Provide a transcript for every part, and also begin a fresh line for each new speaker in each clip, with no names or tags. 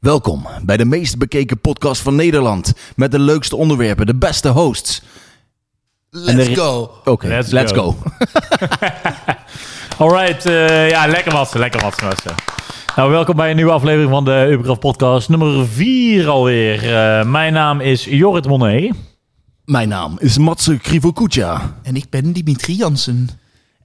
Welkom bij de meest bekeken podcast van Nederland. Met de leukste onderwerpen, de beste hosts.
Let's
de-
go.
Oké, let's,
Let's
go.
go. Alright, eh, ja, lekker wassen, lekker wassen, wassen. Nou, welkom bij een nieuwe aflevering van de Ubergraf Podcast, nummer 4 alweer. Eh, mijn naam is Jorrit Monet.
Mijn naam is Matze Krivokucha.
En ik ben Dimitri Jansen.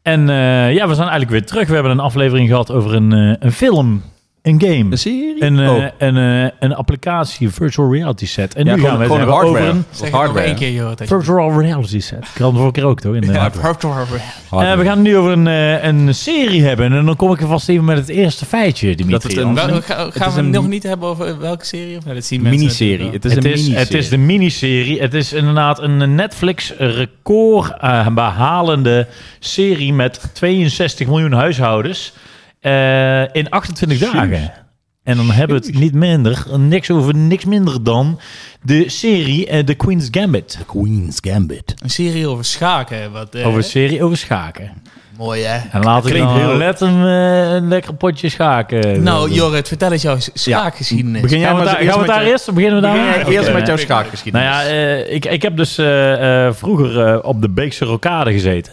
En eh, ja, we zijn eigenlijk weer terug. We hebben een aflevering gehad over een, eh, een film, een game,
Een serie?
een, eh,
Oh.
een, eh, een applicatie, virtual reality set. En
Ja,
nu
gewoon-
gaan we het
gewoon
hebben
hardware.
over een
Zeg het nog
Hardware.
één keer, Jorrit. dat je-
virtual reality set. Ik had hem vorige keer ook, toch? In de
Ja,
hardware.
virtual hardware.
Eh, we gaan het nu over een, eh, een serie hebben. En dan kom ik er vast even met het eerste feitje, Dimitri.
Dat het een-
Jansen.
Wel, ga- gaan we
is
het
een
nog
mi-
niet hebben over welke serie? Of? Nou, dat zien mensen
miniserie.
natuurlijk
Het is
het,
een
is,
miniserie.
het is de miniserie. Het is inderdaad een Netflix-record eh, behalende serie met 62 miljoen huishoudens eh, in 28 dagen. En dan hebben we het niet minder, niks over niks minder dan de serie eh, The Queen's Gambit.
Queen's Gambit.
wel. Een serie over schaken. Wat, eh,
Over een serie over schaken.
Mooi, hè?
En laten we
Klinkt
dan
heel-
let hem eh, een lekker potje schaken. eh,
Nou, Jorrit, vertel eens jouw schaakgeschiedenis.
Begin jij
gaan we,
maar
daar,
eens
gaan we
met
daar
je-
eerst? Beginnen we daar?
Begin jij
Oké.
eerst met jouw
Ja.
Nou
schaakgeschiedenis.
ja, eh, ik, ik heb dus eh, eh, vroeger eh, op de Beekse Rokade gezeten.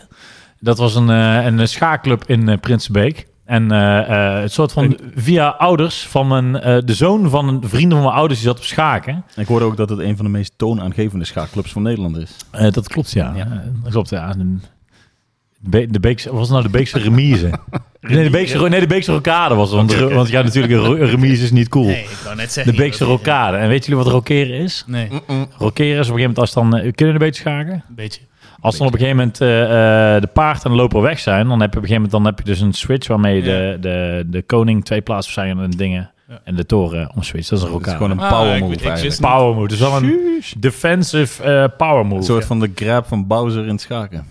Dat was een, eh, een schaakclub in eh, Prinsenbeek. En eh, eh, het soort van via ouders van een, eh, de zoon van een vriend van mijn ouders die zat op schaken.
Ik hoorde ook dat het een van de meest toonaangevende schaakclubs van Nederland is.
Eh, dat klopt, ja.
Ja.
Eh, dat klopt, ja. De, de Beekse, was het nou de Beekse remise? nee, de Beekse, ro- nee, de Beekse Rokade was het. Want,
Oké, oké.
want ja, natuurlijk, een ro- een remise is niet cool.
Nee, ik wou net zeggen.
de Beekse
dat-
Rokade. En weten jullie wat rokeren is?
Nee, een
Rokeren is op een gegeven moment als dan... eh, kunnen jullie een beetje schaken?
beetje.
Als dan op een gegeven moment eh, eh, de paard en de loper weg zijn, dan heb je op een gegeven moment dan heb je dus een switch waarmee de, de, de koning twee plaatsen zijn en dingen.
Ja.
En de toren omswitcht. Dat is een
Het is
elkaar.
gewoon een
Ah,
power
ik-
move
ik wist
eigenlijk.
een-
power move. Dus wel een defensive eh, power move.
Een soort van de grab van Bowser in het schaken.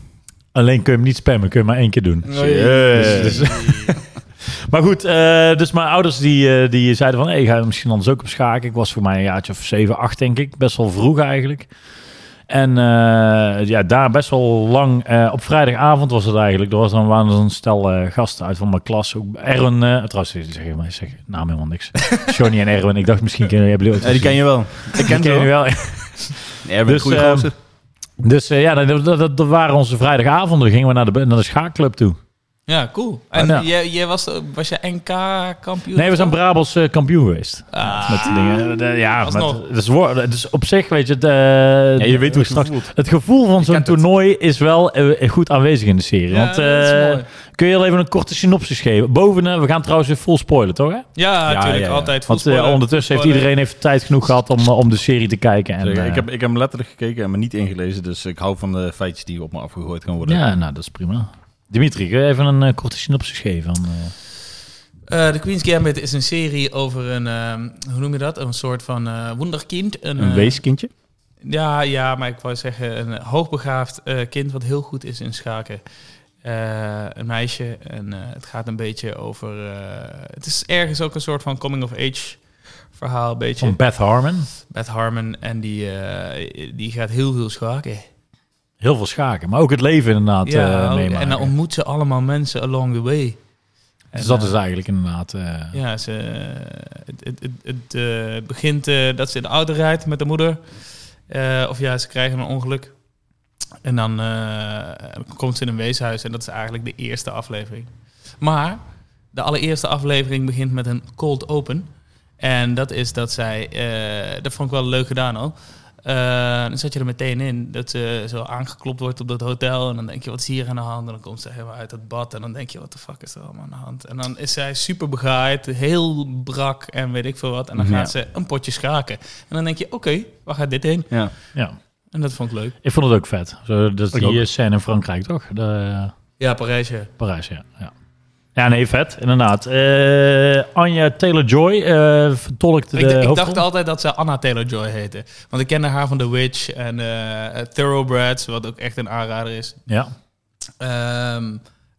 Alleen kun je hem niet spammen, kun je hem maar één keer doen.
Dus- dus-
Maar goed, eh, dus mijn ouders die, eh, die zeiden van... Hey, ga je misschien anders ook op schaken? Ik was voor mij een jaartje of 7, 8 denk ik. Best wel vroeg eigenlijk. En eh, ja, daar best wel lang... eh, op vrijdagavond was het eigenlijk. Er was dan, waren er een stel eh, gasten uit van mijn klas. Ook Erwin... eh trouwens, ik zeg, maar, ik zeg naam helemaal niks. Johnny en Erwin. Ik dacht misschien... Ken, hebben jullie ooit
Ja, die ken je wel. Ik
gezien?
ken
Die
ze
ken je
wel.
wel.
Erwin,
Dus,
goede
ehm,
gozer.
Dus eh, ja, dat, dat, dat waren onze vrijdagavonden. Dan gingen we naar de, naar de schaakclub toe.
Ja, cool. En
Ja.
jij, jij was, was je NK-kampioen?
Nee, we zijn Brabants eh, kampioen geweest.
Ah.
Met die dingen. De- ja,
Alsnog.
met, dus, wo- dus op zich, weet je, de, eh,
Ja, je weet hoe het
straks-
voelt.
het gevoel van zo'n
kent het.
toernooi is wel eh, goed aanwezig in de serie.
Ja,
want
dat is
eh,
mooi.
kun je al even een korte synopsis geven? Bovenaan, we gaan trouwens weer vol spoilen, toch? Hè?
Ja,
Ja,
natuurlijk.
ja, ja.
Altijd
Want eh,
voetballen.
ondertussen heeft
Voetballen.
iedereen even tijd genoeg gehad om, eh, om de serie te kijken. En,
Zeg,
eh,
ik, heb, ik heb hem letterlijk gekeken en me niet ingelezen, dus ik hou van de feitjes die op me afgegooid gaan worden.
ja, nou, dat is prima. Dimitri, kun je even een eh, korte synopsis geven? Van, eh,
Eh, The Queen's Gambit is een serie over een, ehm, hoe noem je dat? Een soort van eh wonderkind. Een,
Een
eh,
weeskindje?
Ja, ja, maar ik wou zeggen, een eh, hoogbegaafd eh, kind wat heel goed is in schaken. Eh, een meisje. En eh, het gaat een beetje over. eh, het is ergens ook een soort van coming of age verhaal. Een beetje.
van Beth Harmon.
Beth Harmon. En die, eh, die gaat heel veel schaken.
Heel veel schaken, maar ook het leven inderdaad
Ja,
eh,
ook-
meemaken.
en dan ontmoet ze allemaal mensen along the way.
dus
En,
dat
eh,
is eigenlijk inderdaad... eh,
Ja, ze, het, het, het, het, eh, begint eh, dat ze in de auto rijdt met de moeder. Eh, of ja, ze krijgen een ongeluk. En dan eh, komt ze in een weeshuis en dat is eigenlijk de eerste aflevering. Maar de allereerste aflevering begint met een cold open. En dat is dat zij, eh, dat vond ik wel leuk gedaan al. Eh, dan zat je er meteen in dat ze zo aangeklopt wordt op dat hotel. En dan denk je, wat is hier aan de hand? En dan komt ze helemaal uit het bad. En dan denk je, wat de fuck is er allemaal aan de hand? En dan is zij super begaaid, heel brak en weet ik veel wat. En dan
Ja.
gaat ze een potje schaken. En dan denk je, oké, waar gaat dit heen?
Ja.
ja.
En dat vond ik leuk.
Ik vond het ook vet. Zo, dat
Ik
die
ook.
eh, scène in Frankrijk, toch? De, eh,
Ja, Parijs, ja.
Parijs, ja. ja. Ja, nee, vet. Inderdaad. Eh Anja Taylor-Joy eh vertolkt de
Ik, d- ik
hoofdrol.
dacht altijd dat ze Anna Taylor-Joy heette. Want ik kende haar van The Witch en eh Thoroughbreds, wat ook echt een aanrader is.
Ja.
Ehm,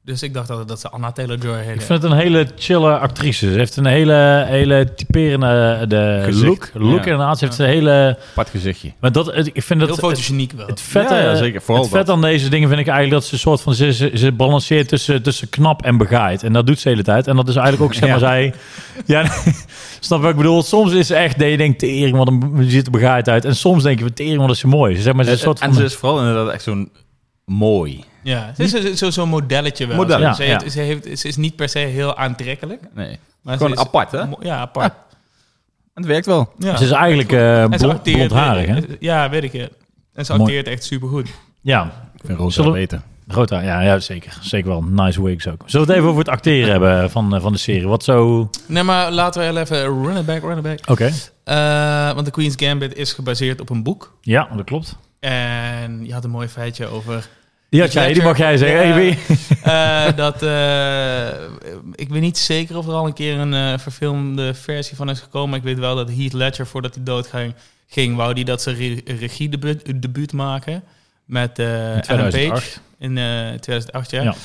Dus ik dacht dat, dat ze Anna Taylor-Joy heette.
Ik vind het een hele chille actrice. Ze heeft een hele, hele typerende eh, de
Gezicht,
look. Look
ja.
inderdaad. Ze heeft
Ja.
een hele...
Apart gezichtje.
Maar dat, het- ik vind
Heel
dat... het-
fotogeniek wel.
Het vette,
Ja, ja, zeker. Vooral
het vet
dat.
aan deze dingen vind ik eigenlijk dat ze een soort van... Ze, ze, ze balanceert tussen, tussen knap en begaaid. En dat doet ze de hele tijd. En dat is eigenlijk ook, zeg maar,
Ja.
zij... Ja, snap je wat ik bedoel? Soms is ze echt dat je denkt, tering, wat een je ziet er begaaid uit. En soms denk je, wat tering, wat is ze mooi. Ze, zeg maar, ze is
Dus
een soort
en ze
van...
is vooral inderdaad echt zo'n mooi.
ja, ze is zo- zo- zo'n modelletje wel.
Model,
ja,
ze, heeft-
ja.
ze, heeft, ze is niet per se heel aantrekkelijk.
Nee.
Maar
Gewoon
ze is-
apart, hè? En
mo- Ja, apart.
het werkt wel.
Ja.
Ze is eigenlijk eh
En ze
blond,
acteert-
blondharig, hè?
Ja, weet ik. Ja. En ze
Mooi.
acteert echt supergood.
Ja,
Ik vind Rosa
Zullen we-
beter.
rood haar. Ja, ja, zeker. Zeker wel. Nice wigs ook. Zullen we het even over het acteren hebben van, eh, van de serie? Wat zo... Oké.
Nee, maar laten we heel even running back, running back. Eh, want The Queen's Gambit is gebaseerd op een boek.
Ja, dat klopt.
En je had een mooi feitje over...
Die had jij, die mag jij zeggen.
Ja.
Hey, wie-
eh, dat, eh, ik weet niet zeker of er al een keer een eh, verfilmde versie van is gekomen. Maar ik weet wel dat Heath Ledger, voordat hij doodging, ging, wou die dat ze re- regiedebuut debuut maken. Met eh
In
Ellen Page
2008.
in eh, 2008, ja.
Ja.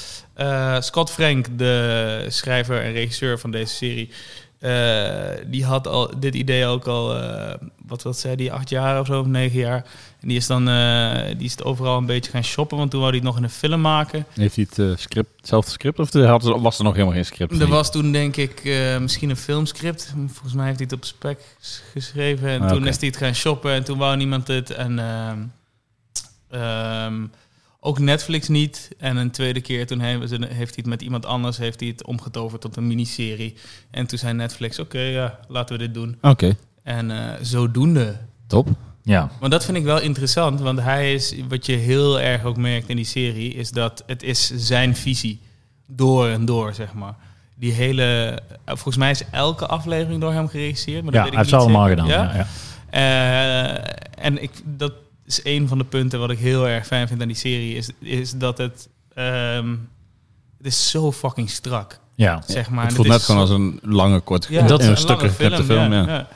Eh, Scott Frank, de schrijver en regisseur van deze serie... eh, die had al dit idee ook al, eh, wat, wat zei die, acht jaar of zo, of negen jaar. En die is dan eh, die is het overal een beetje gaan shoppen, want toen wou hij het nog in een film maken.
Heeft hij het eh, script, hetzelfde script of had ze- was er nog helemaal geen script?
Er was toen denk ik eh, misschien een filmscript. Volgens mij heeft hij het op spec s- geschreven. En
Ah,
toen
oké.
is hij het gaan shoppen en toen wou niemand het. En ehm, ehm, ook Netflix niet. En een tweede keer toen hebben ze- heeft hij het met iemand anders heeft hij het omgetoverd tot een miniserie. En toen zei Netflix, oké, ja, laten we dit doen.
Oké,
En eh, zodoende.
top.
Ja.
Maar dat vind ik wel interessant, want hij is, wat je heel erg ook merkt in die serie, is dat het is zijn visie. Door en door, zeg maar. Die hele, eh, volgens mij is elke aflevering door hem geregisseerd. Maar dat
Ja,
weet
hij
ik
heeft ze
niet
allemaal
zeker.
gedaan. Ja? Ja,
Eh, en ik, dat is een van de punten wat ik heel erg fijn vind aan die serie, is, is dat het, ehm, het is zo fucking strak,
ja.
zeg maar.
het
En
voelt
is
net gewoon
zo-
als een lange korte
ja,
dat
dat is
is een
een
stuk
lange film.
geknipte film,
ja,
ja.
ja.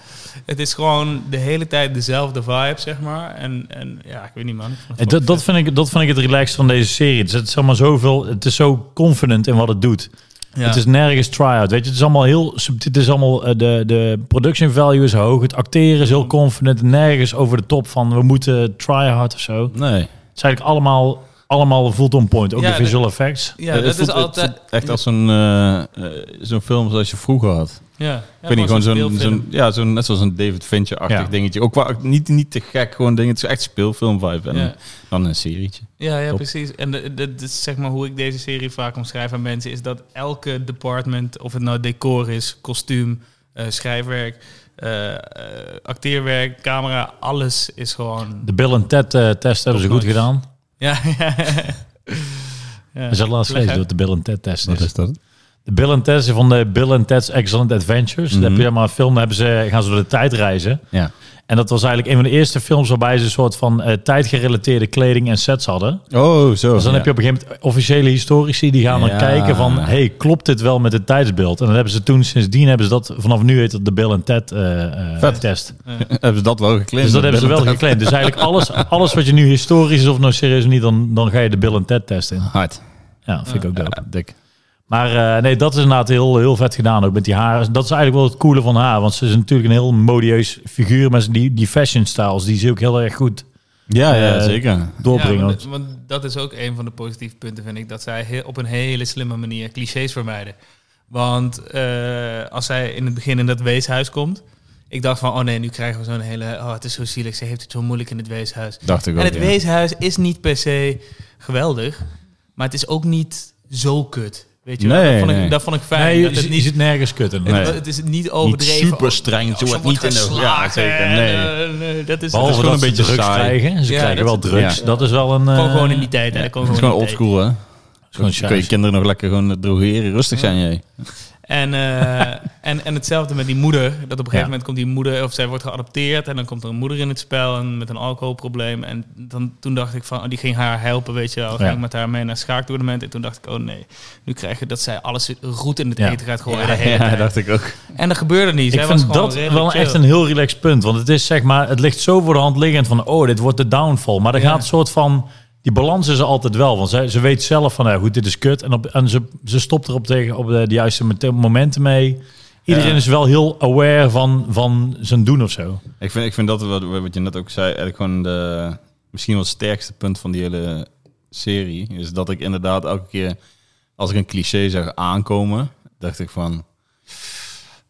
Het is gewoon de hele tijd dezelfde vibe, zeg maar. En, en ja, ik weet niet, man. Ik vond
En
het
Eh, Dat,
wel
dat, vind ik, dat vind ik het relaxed van deze serie. Het is, het is allemaal zoveel, het is zo confident in wat het doet.
vet. Ja.
Het is nergens try-out. Weet je, het is allemaal heel subtiel. Het is allemaal, eh, de, de production value is hoog. Het acteren is heel confident. Nergens over de top van we moeten try-hard of zo. Het
Nee.
is eigenlijk allemaal, allemaal voelt on point. Ook
Ja,
de visual effects.
ja,
Eh, Het
dat is
voelt- het
altijd...
voelt Echt als een, eh, eh, zo'n film zoals je vroeger had.
ja,
Ik weet niet, gewoon zo'n,
speelfilm.
zo'n, ja, zo'n, net zoals een David Fincher-achtig
Ja.
dingetje. Ook qua, niet, niet te gek, gewoon ding. Het is echt speelfilm-vibe. En
Ja.
dan een serietje.
Ja, ja
Top.
precies. En de- de- de- zeg maar hoe ik deze serie vaak omschrijf aan mensen, is dat elke department, of het nou decor is, kostuum, eh, schrijfwerk, eh, eh, acteerwerk, camera, alles is gewoon...
De Bill en Ted eh, test hebben ze goed
Top-notch.
gedaan.
Ja, ja. ja.
Dat is het laatst
Leg
gelezen
uit.
dat de Bill en Ted test is.
dat?
De Bill en Ted's van de Bill en Ted's Excellent Adventures. Daar heb je maar een film, daar hebben ze, gaan ze door de tijd reizen.
Ja.
En dat was eigenlijk een van de eerste films waarbij ze een soort van eh, tijdgerelateerde kleding en sets hadden.
Oh, zo.
Dus dan
ja.
heb je op een gegeven moment officiële historici die gaan
Ja.
dan kijken van, hey, klopt dit wel met het tijdsbeeld? En dan hebben ze toen, sindsdien hebben ze dat, vanaf nu heet dat de Bill en Ted eh, eh,
Vet.
test.
hebben ze dat wel geclaimd.
Dus dat hebben ze wel
Bill en
geclaimd. Dus eigenlijk alles, alles wat je nu historisch is of nou serieus niet, dan, dan ga je de Bill en Ted test in.
Ted. Hard.
Ja, vind ik ook dope.
Ja, dik.
Maar eh, nee, dat is inderdaad heel, heel vet gedaan ook met die haren. Dat is eigenlijk wel het coole van haar. Want ze is natuurlijk een heel modieus figuur. Maar ze- die, die fashion styles, die ze ook heel erg goed
Ja, ja,
Eh,
zeker.
doorbrengen.
Ja, want, want dat is ook een van de positieve punten, vind ik. Dat zij heel, op een hele slimme manier clichés vermijden. Want eh, als zij in het begin in dat weeshuis komt... Ik dacht van, oh nee, nu krijgen we zo'n hele... Oh, het is zo zielig, ze heeft het zo moeilijk in het weeshuis.
Dacht ik ook,
En het
ja.
weeshuis is niet per se geweldig. Maar het is ook niet zo kut. Weet je wel?
Nee,
Dat vond ik,
nee.
dat vond ik fijn.
nee, je,
dat het
je
niet,
zit nergens kut in.
het,
nee.
het is niet
Niet
overdreven.
super streng. Ze
Oh,
wordt niet in de... Ja, zeker.
en,
Nee.
eh, nee, dat is,
Behalve
gewoon
dat
een
ze
beetje
drugs
saai.
krijgen. Ze
Ja, dat
krijgen wel
is-
drugs.
ja.
Dat is wel een...
gewoon,
eh,
gewoon in die tijd. hè.
Ja,
Dat kon
het is
gewoon
gewoon
in die tijd.
oldschool, hè?
gewoon
Dan kun je
saai.
kinderen nog lekker gewoon drogeren. Rustig zijn, jij.
En, eh, en, en hetzelfde met die moeder. Dat op een gegeven
Ja.
moment komt die moeder, of zij wordt geadopteerd. En dan komt er een moeder in het spel en met een alcoholprobleem. En dan, toen dacht ik van, oh, die ging haar helpen, weet je wel. Ging
Ja.
ik met haar mee naar schaaktoernament. En toen dacht ik, oh nee, nu krijg je dat zij alles roet in het
Ja.
eten gaat gooien. de hele tijd.
dacht ik ook.
En dat gebeurde niet.
Ik
Zij was
vind
gewoon
dat
redelijk
wel
chill.
echt een heel relaxed punt. Want het is zeg maar, het ligt zo voor de hand liggend van, oh, dit wordt de downfall. Maar er
Ja.
gaat een soort van die balans is er altijd wel. Want ze, ze weet zelf van, ja, goed, dit is kut. En, op, en ze, ze stopt er op, tegen, op de, de juiste mete- momenten mee. Iedereen
Ja.
is wel heel aware van, van zijn doen of zo.
Ik vind, ik vind dat wat, wat je net ook zei, eigenlijk gewoon de, misschien wel het sterkste punt van die hele serie. Is dat ik inderdaad elke keer, als ik een cliché zag aankomen, dacht ik van...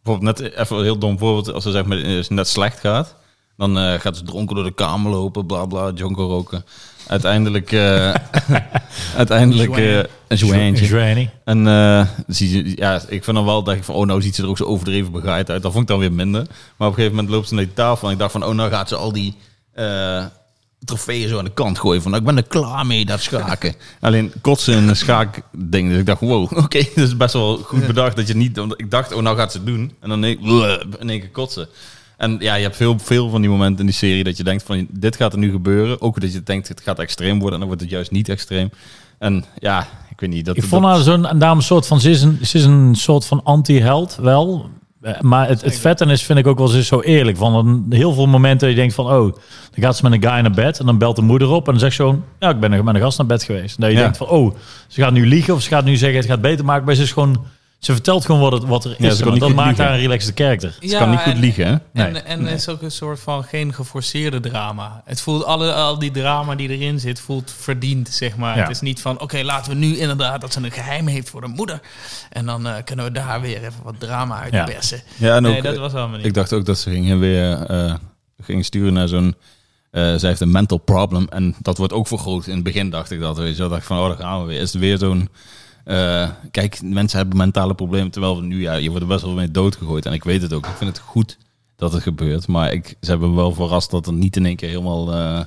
Bijvoorbeeld net, even een heel dom voorbeeld, als ze zeg maar, eh, net slecht gaat, dan eh, gaat ze dronken door de kamer lopen, bla bla, jonko roken. Uiteindelijk, eh, uiteindelijk eh, een zwijntje.
Joanie.
En eh, zie je- ja, ik vind dan wel dat ik van, oh nou ziet ze er ook zo overdreven begaaid uit. Dat vond ik dan weer minder. Maar op een gegeven moment loopt ze naar die tafel en ik dacht van, oh nou gaat ze al die eh trofeeën zo aan de kant gooien. Van, nou, ik ben er klaar mee, dat schaken. Alleen kotsen in een schaakding. Dus ik dacht, wow, oké, dat is best wel goed bedacht dat je niet... want Ik dacht, oh nou gaat ze het doen. En dan in één- in één keer kotsen. En ja, je hebt veel, veel van die momenten in die serie dat je denkt van, dit gaat er nu gebeuren. Ook dat je denkt, het gaat extreem worden en dan wordt het juist niet extreem. En ja, ik weet niet. Dat,
Ik vond haar zo'n een dame soort van, ze is een, ze is een soort van anti-held, wel. Eh, Maar het, het vet aan is, vind ik ook wel eens zo eerlijk. Van een- heel veel momenten dat je denkt van, oh, dan gaat ze met een guy naar bed. En dan belt de moeder op en dan zegt ze gewoon, ja, ik ben er met een gast naar bed geweest. Dat je
Ja.
denkt van, oh, ze gaat nu liegen of ze gaat nu zeggen, het gaat beter maken. Maar ze is gewoon, ze vertelt gewoon wat, het, wat er
Ja,
is.
ze
en
kan niet
dat
goed
maakt
liegen.
haar een relaxed karakter.
Ze kan niet goed
en-
liegen, hè?
En,
Nee.
en het is ook een soort van geen geforceerde drama. Het voelt alle, al die drama die erin zit, voelt verdiend, zeg maar.
Ja.
Het is niet van, oké, laten we nu inderdaad dat ze een geheim heeft voor de moeder. En dan eh, kunnen we daar weer even wat drama uit
Ja.
persen.
Ja, en
Nee,
ook, eh,
dat was allemaal niet.
ik dacht ook dat ze gingen weer eh, gingen sturen naar zo'n... eh zij heeft een mental problem en dat wordt ook vergroot. In het begin dacht ik dat. Weet je, wel. dacht ik van, oh, daar gaan we weer. Is het weer zo'n... eh, kijk, mensen hebben mentale problemen. Terwijl we nu, ja, je wordt er best wel mee doodgegooid. En ik weet het ook. Ik vind het goed dat het gebeurt. Maar ik, ze hebben me wel verrast dat het niet in één keer helemaal... eh,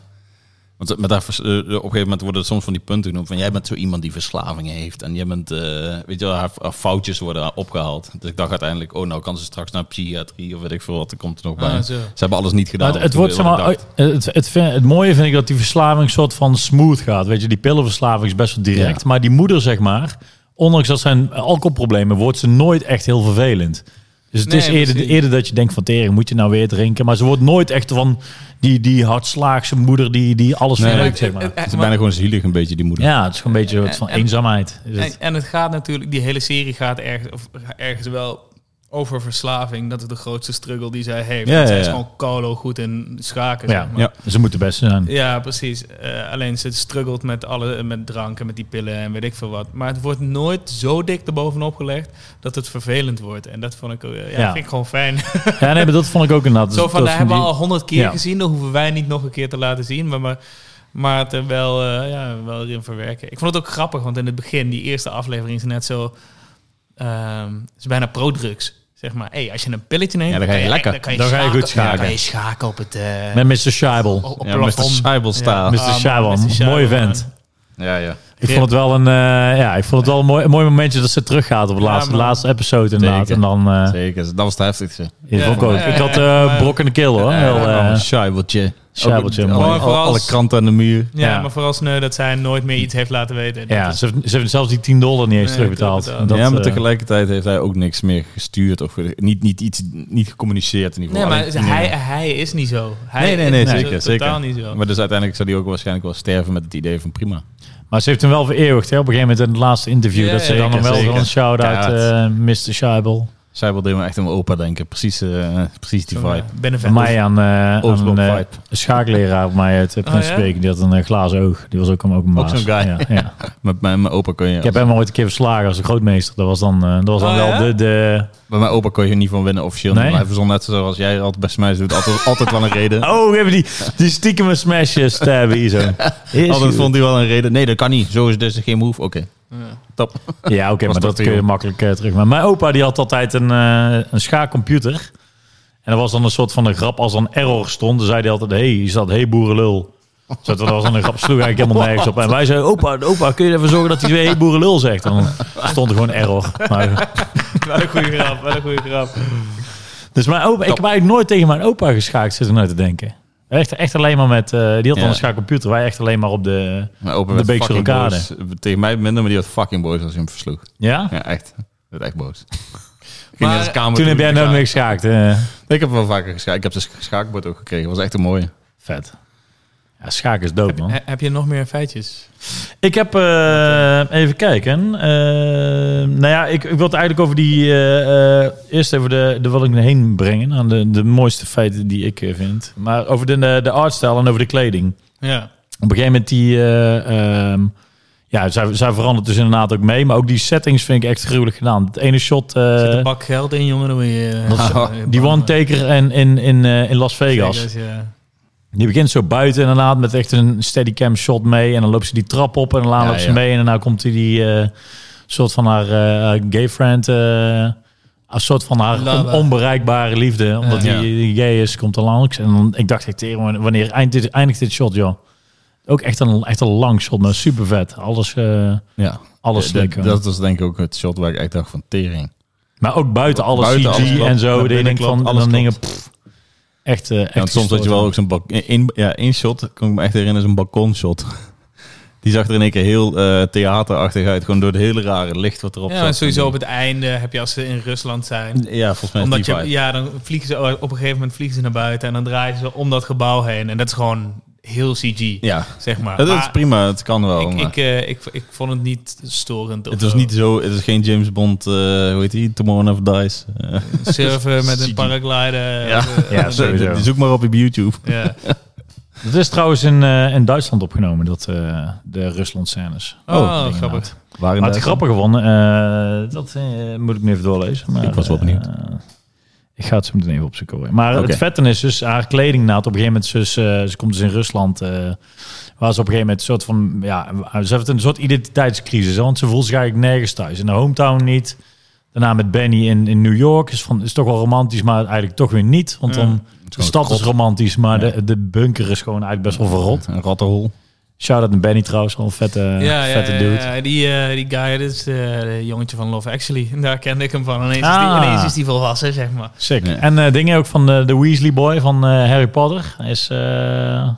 want met haar, vers- eh, op een gegeven moment worden er soms van die punten genoemd van jij bent zo iemand die verslavingen heeft en jij bent, eh, weet je wel, haar, haar foutjes worden opgehaald. Dus ik dacht uiteindelijk, oh nou kan ze straks naar psychiatrie of weet ik veel wat, er komt er nog bij.
Ah,
ze
zo.
hebben alles niet
Nou,
gedaan.
Maar het, het
wat-
wordt, zeg
wat ik
maar, oh, eh,
dacht.
het, het, vind- het mooie vind ik dat die verslaving soort van smooth gaat. Weet je, die pillenverslaving is best wel direct. Maar die moeder, zeg maar, ondanks dat zijn alcoholproblemen, wordt ze nooit echt heel vervelend. Dus het
Nee,
is eerder,
precies.
eerder dat je denkt van tering, moet je nou weer drinken? Maar ze wordt nooit echt van die, die hardslaagse moeder die, die alles
Nee.
verwerkt, zeg
Het-
maar.
het-
Ze is bijna gewoon zielig een beetje die moeder.
eh, Ja, het is gewoon een beetje een soort van
En- en-
eenzaamheid. Is
En,
het.
en het gaat natuurlijk, die hele serie gaat ergens, of ergens wel over verslaving. Dat is de grootste struggle die zij heeft.
Ja,
Want
ja,
zij is
ja.
gewoon kolo goed in schaken.
Ja,
zeg maar.
ja, ze moeten best zijn.
Ja, precies. Eh, alleen ze struggelt met, alle, met drank en met die pillen en weet ik veel wat. Maar het wordt nooit zo dik erbovenop gelegd dat het vervelend wordt. En dat vond ik, eh, ja,
Ja.
vind ik gewoon fijn.
Ja, nee, maar dat vond ik ook inderdaad.
zo
Dat-
van,
dat
dat
vond
hebben we
die-
al honderd keer
Ja.
gezien. Dat hoeven wij niet nog een keer te laten zien. Maar, maar, maar het er wel, eh, ja, wel erin verwerken. Ik vond het ook grappig, want in het begin, die eerste aflevering is net zo... ehm is bijna pro-drugs. Zeg maar, hey, als je een pilletje neemt,
Ja, dan ga je lekker.
Dan, kan je
Dan ga je
schaken-
goed schaken.
Dan kan je schaken op het, eh
Met Mr. Scheibel.
op het
Ja, Mr.
plafond.
Scheibelstaal.
Mr.
Oh. Ah, man,
Scheibel,
Mr. Scheibel,
mooie
man.
vent.
Ja, ja.
Ik vond het wel een, eh, ja, ik vond het wel een mooi, een mooi momentje dat ze teruggaat op de
Ja,
laatste,
man.
laatste episode inderdaad.
Zeker.
En dan eh
Zeker, dat was het heftigste.
is het ook
Ja,
ook.
ja,
Ik had
ja,
eh
maar-
brok in de keel hoor. Heel, eh,
een scheibeltje.
scheibeltje,
Ook-
mooi.
alle, alle, alle kranten aan de muur.
Ja,
Ja.
maar vooral sneu dat zij nooit meer iets heeft laten weten. Dat
ja,
is-
ze heeft, ze heeft zelfs die 10 dollar niet eens
Nee,
terugbetaald.
terugbetaald.
Dat,
ja, maar
eh,
tegelijkertijd heeft hij ook niks meer gestuurd of ge- niet, niet, iets, niet gecommuniceerd in ieder
nee,
geval.
maar
Alleen-
hij, hij is niet zo. Hij
Nee, nee, nee,
is
zeker,
Totaal
zeker.
niet zo.
Maar dus uiteindelijk zou hij ook waarschijnlijk wel sterven met het idee van prima.
maar ze heeft hem wel vereeuwigd hè, op een gegeven moment in het laatste interview.
Ja,
dat ze dan
zeker,
nog wel
zeker.
een shout-out, eh, Mr. Scheibel.
Cyber deed me echt aan mijn opa denken. Precies, eh, precies die vibe.
Van
Benevent.
mij aan, eh, aan
Oostblok
een eh,
vibe.
schaakleraar op mij uit eh,
Oh,
Prinsenbeek. Die had een eh, glazen oog. Die was ook, hem ook een
Ook
baas.
zo'n guy.
Ja, ja.
Met mijn, mijn opa kon je...
Ik heb hem ooit een keer verslagen als een grootmeester. Dat was dan, eh, dat was dan
Oh,
wel
ja?
de... de
Bij mijn opa kon je niet van winnen officieel.
Nee?
Maar hij verzon net zoals jij altijd bij Smash doet. Altijd, altijd wel een reden.
Oh, we hebben die, die stiekem een smash eh, stab hier zo. Is
altijd
goed.
vond hij wel een reden. Nee, dat kan niet. Zo is dus geen move. Oké,
Ja.
top.
Ja, oké,
Was
maar
dat
dat
te
kun je
jong?
makkelijk eh, terug. Maar mijn opa die had altijd een, eh, een schaakcomputer. En dat was dan een soort van een grap. Als er een error stond, dan zei hij altijd... hey, is dat hey boerenlul? Dus dat was dan een grap, sloeg eigenlijk helemaal nergens op. En wij zeiden, opa, opa, kun je ervoor zorgen dat hij weer hey boerenlul zegt? En dan stond er gewoon error. Maar,
Wel een goede grap, wel een goede grap.
dus mijn opa, ik heb eigenlijk nooit tegen mijn opa geschaakt, zit er nou te denken. Echt, echt alleen maar met... eh, die had dan
Ja.
een schaakcomputer. Wij echt alleen maar op de...
Mijn opa
De
werd
Beekse
fucking
Rokade.
boos. Tegen mij minder, maar die werd fucking boos als hij hem versloeg.
Ja?
Ja, echt. Hij werd echt boos. Ging
Maar
naar zijn kamer
Toen
toe.
heb jij nooit meer geschaakt. eh.
dus Ik heb wel vaker geschaakt. Ik heb zijn schaakbord ook gekregen. was echt een mooie.
Vet. Ja, Ja, schaken is dood, man.
He- heb je nog meer feitjes?
Ik heb eh, even kijken. Eh, nou ja, ik, ik wil het eigenlijk over die. eh, eh, eerst even de, de wat ik heen brengen. Aan de, de mooiste feiten die ik eh, vind. Maar over de, de, de artstijl en over de kleding.
Ja.
Op een gegeven moment die. eh, ehm, ja, zij, zij verandert dus inderdaad ook mee. Maar ook die settings vind ik echt gruwelijk gedaan. Het ene shot. eh,
Zit een bak geld in, jongen. Dan moet je, eh,
Dat is- die one-taker en in, in, eh, in Las Vegas.
ja.
Die begint zo buiten inderdaad met echt een steadycam shot mee. En dan loopt ze die trap op en dan
Ja,
loopt ze
ja.
mee. En daarna komt die, die eh, soort van haar eh, gay friend... eh, een soort van haar
Lava.
on- onbereikbare liefde. Omdat
Ja.
die, die gay is, komt er langs. En dan, ik dacht echt, "Tering, wanneer- wanneer eindigt dit, eindigt dit shot, joh? Ook echt een, echt een lang shot, maar super vet. Alles, eh,
Ja.
alles
De-
lekker.
dat was denk ik ook het shot waar ik echt dacht van tering.
maar ook buiten alles,
Buiten
CG
alles klopt.
en zo.
Dat
Dat je
binnen
denkt van,
klopt,
en
alles
dan dingen...
klopt.
pff, echt, eh, echt
Ja, want soms had je wel ook zo'n bak- één- ja, één shot, kan ik me echt herinneren, is een balkonshot. Die zag er in één keer heel eh, theaterachtig uit, gewoon door het hele rare licht wat erop
Ja,
zat.
maar sowieso op het einde heb je als ze in Rusland zijn.
Ja, volgens mij is
Omdat
die
je,
vibe.
ja, dan vliegen ze oh, op een gegeven moment vliegen ze naar buiten en dan draaien ze om dat gebouw heen. En dat is gewoon heel CG,
Ja,
zeg maar.
dat is
Maar
prima, het kan wel.
Ik,
maar-
ik, eh, ik, ik vond het niet storend. of
het was
zo.
niet zo, het is geen James Bond, eh, hoe heet die, Tomorrow Never Dies. Eh,
surfen met een
CG.
paraglider.
Ja.
of, eh,
Ja,
een-
sorry. Sowieso.
Zoek maar op op YouTube.
Ja.
Dat is trouwens in, eh, in Duitsland opgenomen, dat, eh, de Rusland-scènes.
Oh,
dingen
grappig.
inderdaad.
Waar
Maar het grappige van, eh, dat eh, moet ik nu even doorlezen. Maar,
Ik was wel
eh,
benieuwd.
ik ga het zo meteen even opzoeken hoor. Maar
Oké.
het vetten is dus haar kleding na. Op een gegeven moment, dus, eh, ze komt dus in Rusland. eh, waar ze op een gegeven moment een soort van, ja, eh, ze heeft een soort identiteitscrisis. hè, Want ze voelt zich eigenlijk nergens thuis. In de hometown niet. Daarna met Benny in, in New York. Is, van, is toch wel romantisch, maar eigenlijk toch weer niet. Want
Ja.
dan, de stad is romantisch, maar
Ja.
de, de bunker is gewoon eigenlijk best wel verrot.
Een rattenhol.
Shout-out naar Benny trouwens, al een vette,
Ja, ja,
vette
ja,
dude.
ja, die, eh, die guy, dat is eh, de jongetje van Love Actually. En Daar kende ik hem van. Ineens, is,
Ah.
die, ineens is die volwassen, zeg maar.
Sick.
Ja.
En eh, dingen ook van eh, de Weasley Boy van eh, Harry Potter. Hij Is, eh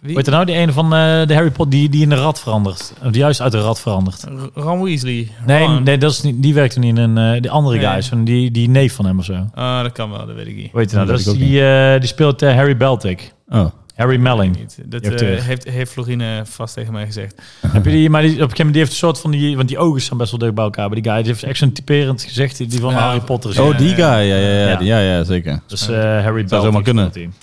Wie?
weet je nou, die ene van eh, de Harry Potter die, die in de rat verandert. Of die juist uit de rat verandert.
R- Ron Weasley.
Nee,
Ron.
nee dat is niet, die werkte niet in een... eh, die andere
Nee.
guy, zo'n- die, die neef van hem of zo.
Ah, dat kan wel, dat weet ik niet.
Weet je nou,
Dat
dat
weet
is
ik ook
die, eh, die speelt eh, Harry Beltic.
Oh.
Harry Melling.
Niet. Dat
Je hebt,
eh,
eh,
heeft, heeft Florine vast tegen mij gezegd.
Heb je die, maar die, op een gegeven moment die heeft een soort van die... Want die ogen staan best wel dicht bij elkaar. Maar die guy die heeft echt zo'n typerend gezicht die die van
Ja,
Harry Potter is.
Ja,
oh, die
ja,
guy.
ja.
Ja, ja,
Ja.
ja, ja. ja, zeker.
Dus eh, Harry Beltic.
zomaar kunnen.
speelt die.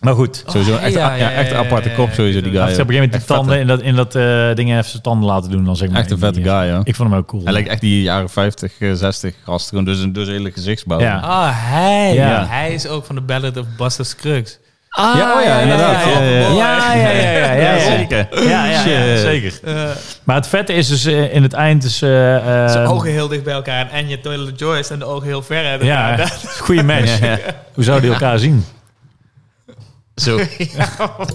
Maar goed.
Sowieso
ja,
echt,
ja,
ja,
ja,
echt een
ja,
aparte
ja,
kop,
ja,
sowieso
ja,
die
Hij
guy.
heeft op een gegeven moment die
Echt
tanden in dat, in dat eh, ding even zijn tanden laten doen. Dan zeg maar.
Echt een vette
Die- eh,
guy, ja.
Ik vond hem ook cool.
Hij lijkt echt die jaren 50, eh, 60 gast. Gewoon dus een dus hele gezichtsbouw.
Ja.
Ah, hij.
Ja.
Ja, Hij is ook van de Ballad of Buster Scruggs.
ah,
Ja, oh ja, inderdaad.
ja, ja, ja.
Ja, ja, ja, ja, ja, ja.
zeker.
Ja, ja, ja,
Shit.
zeker.
Eh,
Maar het vette is dus eh, in het eind is... eh, eh,
zijn ogen heel dicht bij elkaar. En je Toilet Joyce en de ogen heel ver uit elkaar.
Ja,
Dat-
goede match. Hoe zouden die elkaar zien?
Zo.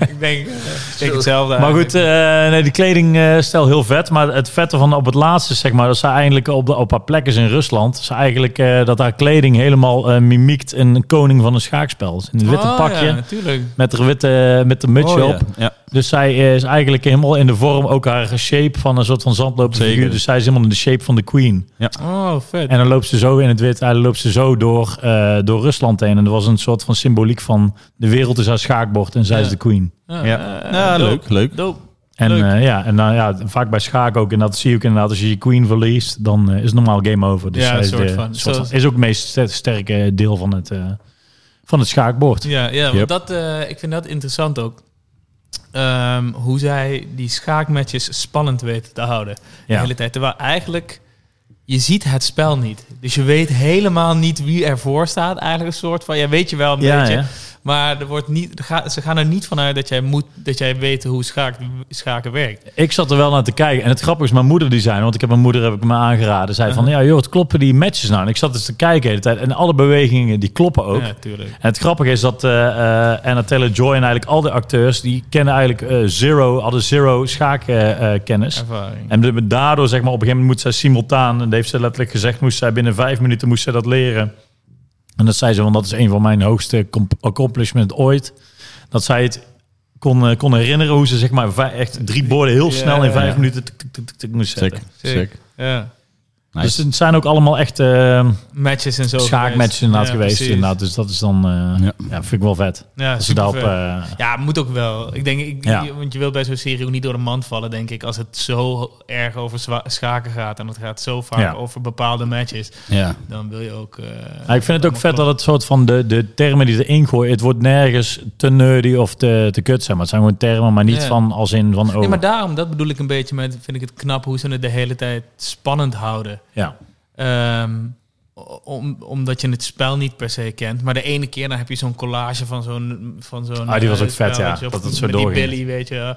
ik denk, eh, ik denk hetzelfde.
Maar
eigenlijk.
goed, eh, nee, die kledingstijl heel vet. Maar het vette van op het laatste, zeg maar, dat ze eigenlijk op, de, op haar plek is in Rusland. Ze eigenlijk eh, dat haar kleding helemaal eh, mimiekt een koning van een schaakspel. Dus In een witte
Oh,
pakje.
Ja, natuurlijk.
Met haar witte, met de mutsje
Oh,
op.
ja. Ja.
Dus zij is eigenlijk helemaal in de vorm, ook haar shape van een soort van zandlopende
Zeker.
figuur. Dus zij is helemaal in de shape van de queen.
Oh, vet.
En dan loopt ze zo in het wit, en dan loopt ze zo door, eh, door Rusland heen. En er was een soort van symboliek van de wereld is haar schaakbord en zij
Ja.
is de queen.
Ja,
Ja.
eh,
Nou,
Ja,
dope.
leuk, leuk.
Dope.
En
Leuk.
eh, ja, en dan, ja, vaak bij schaak ook. En dat zie je ook inderdaad, als je je queen verliest, dan eh, is het normaal game over. Dus
Ja,
zij
een
is,
soort
de-
van.
soort van-
Zoals-
is ook het meest ster- sterke deel van het, eh, van het schaakbord.
Ja, ja want
Yep.
dat, eh, ik vind dat interessant ook. Ehm, hoe zij die schaakmatches spannend weten te houden. De
Ja.
hele tijd. Terwijl eigenlijk, je ziet het spel niet. Dus je weet helemaal niet wie ervoor staat. Eigenlijk een soort van, ja weet je wel een
Ja,
beetje.
ja.
Maar er wordt niet, er ga- ze gaan er niet vanuit dat jij, moet, dat jij weet hoe schaak, schaken werkt.
Ik zat er wel naar te kijken. En het grappige is, mijn moeder die zei, want ik heb mijn moeder heb ik me aangeraden. Zei van, ja joh, het kloppen die matches nou. En ik zat dus te kijken de hele tijd. En alle bewegingen, die kloppen ook.
Ja, natuurlijk.
En het grappige is dat eh eh, Anna Taylor-Joy en eigenlijk al die acteurs... die kennen eigenlijk eh, zero, hadden zero schaakkennis.
Ervaring.
en de- daardoor, zeg maar, op een gegeven moment moet zij simultaan... en dat heeft ze letterlijk gezegd, moest zij binnen vijf minuten moest zij dat leren. En dat zei ze, want dat is een van mijn hoogste com- accomplishment ooit. Dat zij het kon, eh, kon herinneren hoe ze zeg maar vij- echt drie borden heel
Ja,
snel in
ja,
vijf
ja.
minuten tik, tik, tik, tik, tik moest zetten.
Zeker. Zeker.
Ja.
Nice.
Dus het zijn ook allemaal echt eh
Matches en zo.
schaakmatches
geweest.
inderdaad
Ja,
geweest.
precies.
Inderdaad. Dus dat is dan, eh,
Ja.
ja. vind ik wel vet.
Ja,
Als ze daarop,
supervet.
eh,
Ja, moet ook wel. Ik denk, ik,
Ja.
want je wilt bij zo'n serie ook niet door de mand vallen, denk ik, als het zo erg over zwa- schaken gaat en het gaat zo vaak
Ja.
over bepaalde matches,
Ja.
dan wil je ook. eh,
Ja, ik vind het ook
allemaal
vet dat
klopt.
het soort van de, de termen die ze ingooien, het wordt nergens te nerdy of te, te kut zijn. Maar het zijn gewoon termen, maar niet
Ja.
van als in van oh.
Nee, maar daarom, dat bedoel ik een beetje met, vind ik het knap hoe ze het de hele tijd spannend houden.
ja.
Ehm, om, omdat je het spel niet per se kent. Maar de ene keer dan heb je zo'n collage van zo'n... Van zo'n
Ah, die was
eh,
ook vet,
spel,
ja,
weet je, of
dat het zo
met die
doorging.
Billy, weet je.
Ja.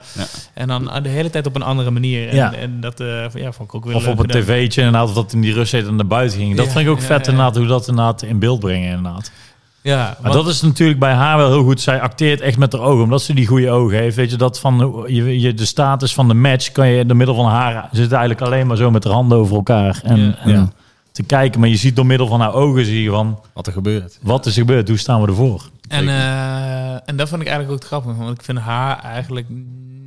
En dan ah, de hele tijd op een andere manier. En,
Ja.
en dat eh, ja, vond ik ook weer
Of
leuk
op een
gedaan.
tv'tje inderdaad, of dat in die rust zit en naar buiten ging. Dat
Ja,
vind ik ook
ja,
vet
ja, ja.
inderdaad, hoe dat inderdaad in beeld brengen inderdaad.
Ja,
Maar
want-
dat is natuurlijk bij haar wel heel goed. Zij acteert echt met haar ogen, omdat ze die goede ogen heeft. Weet je, dat van hoe- je, je, de status van de match kan je door middel van haar... Ze zit eigenlijk alleen maar zo met haar handen over elkaar en,
Ja.
en
Ja.
te kijken. Maar je ziet door middel van haar ogen, zie je van...
Wat er gebeurt.
Wat is er gebeurd? Hoe staan we ervoor?
en,
Zeker.
eh, en dat vond ik eigenlijk ook grappig. Want ik vind haar eigenlijk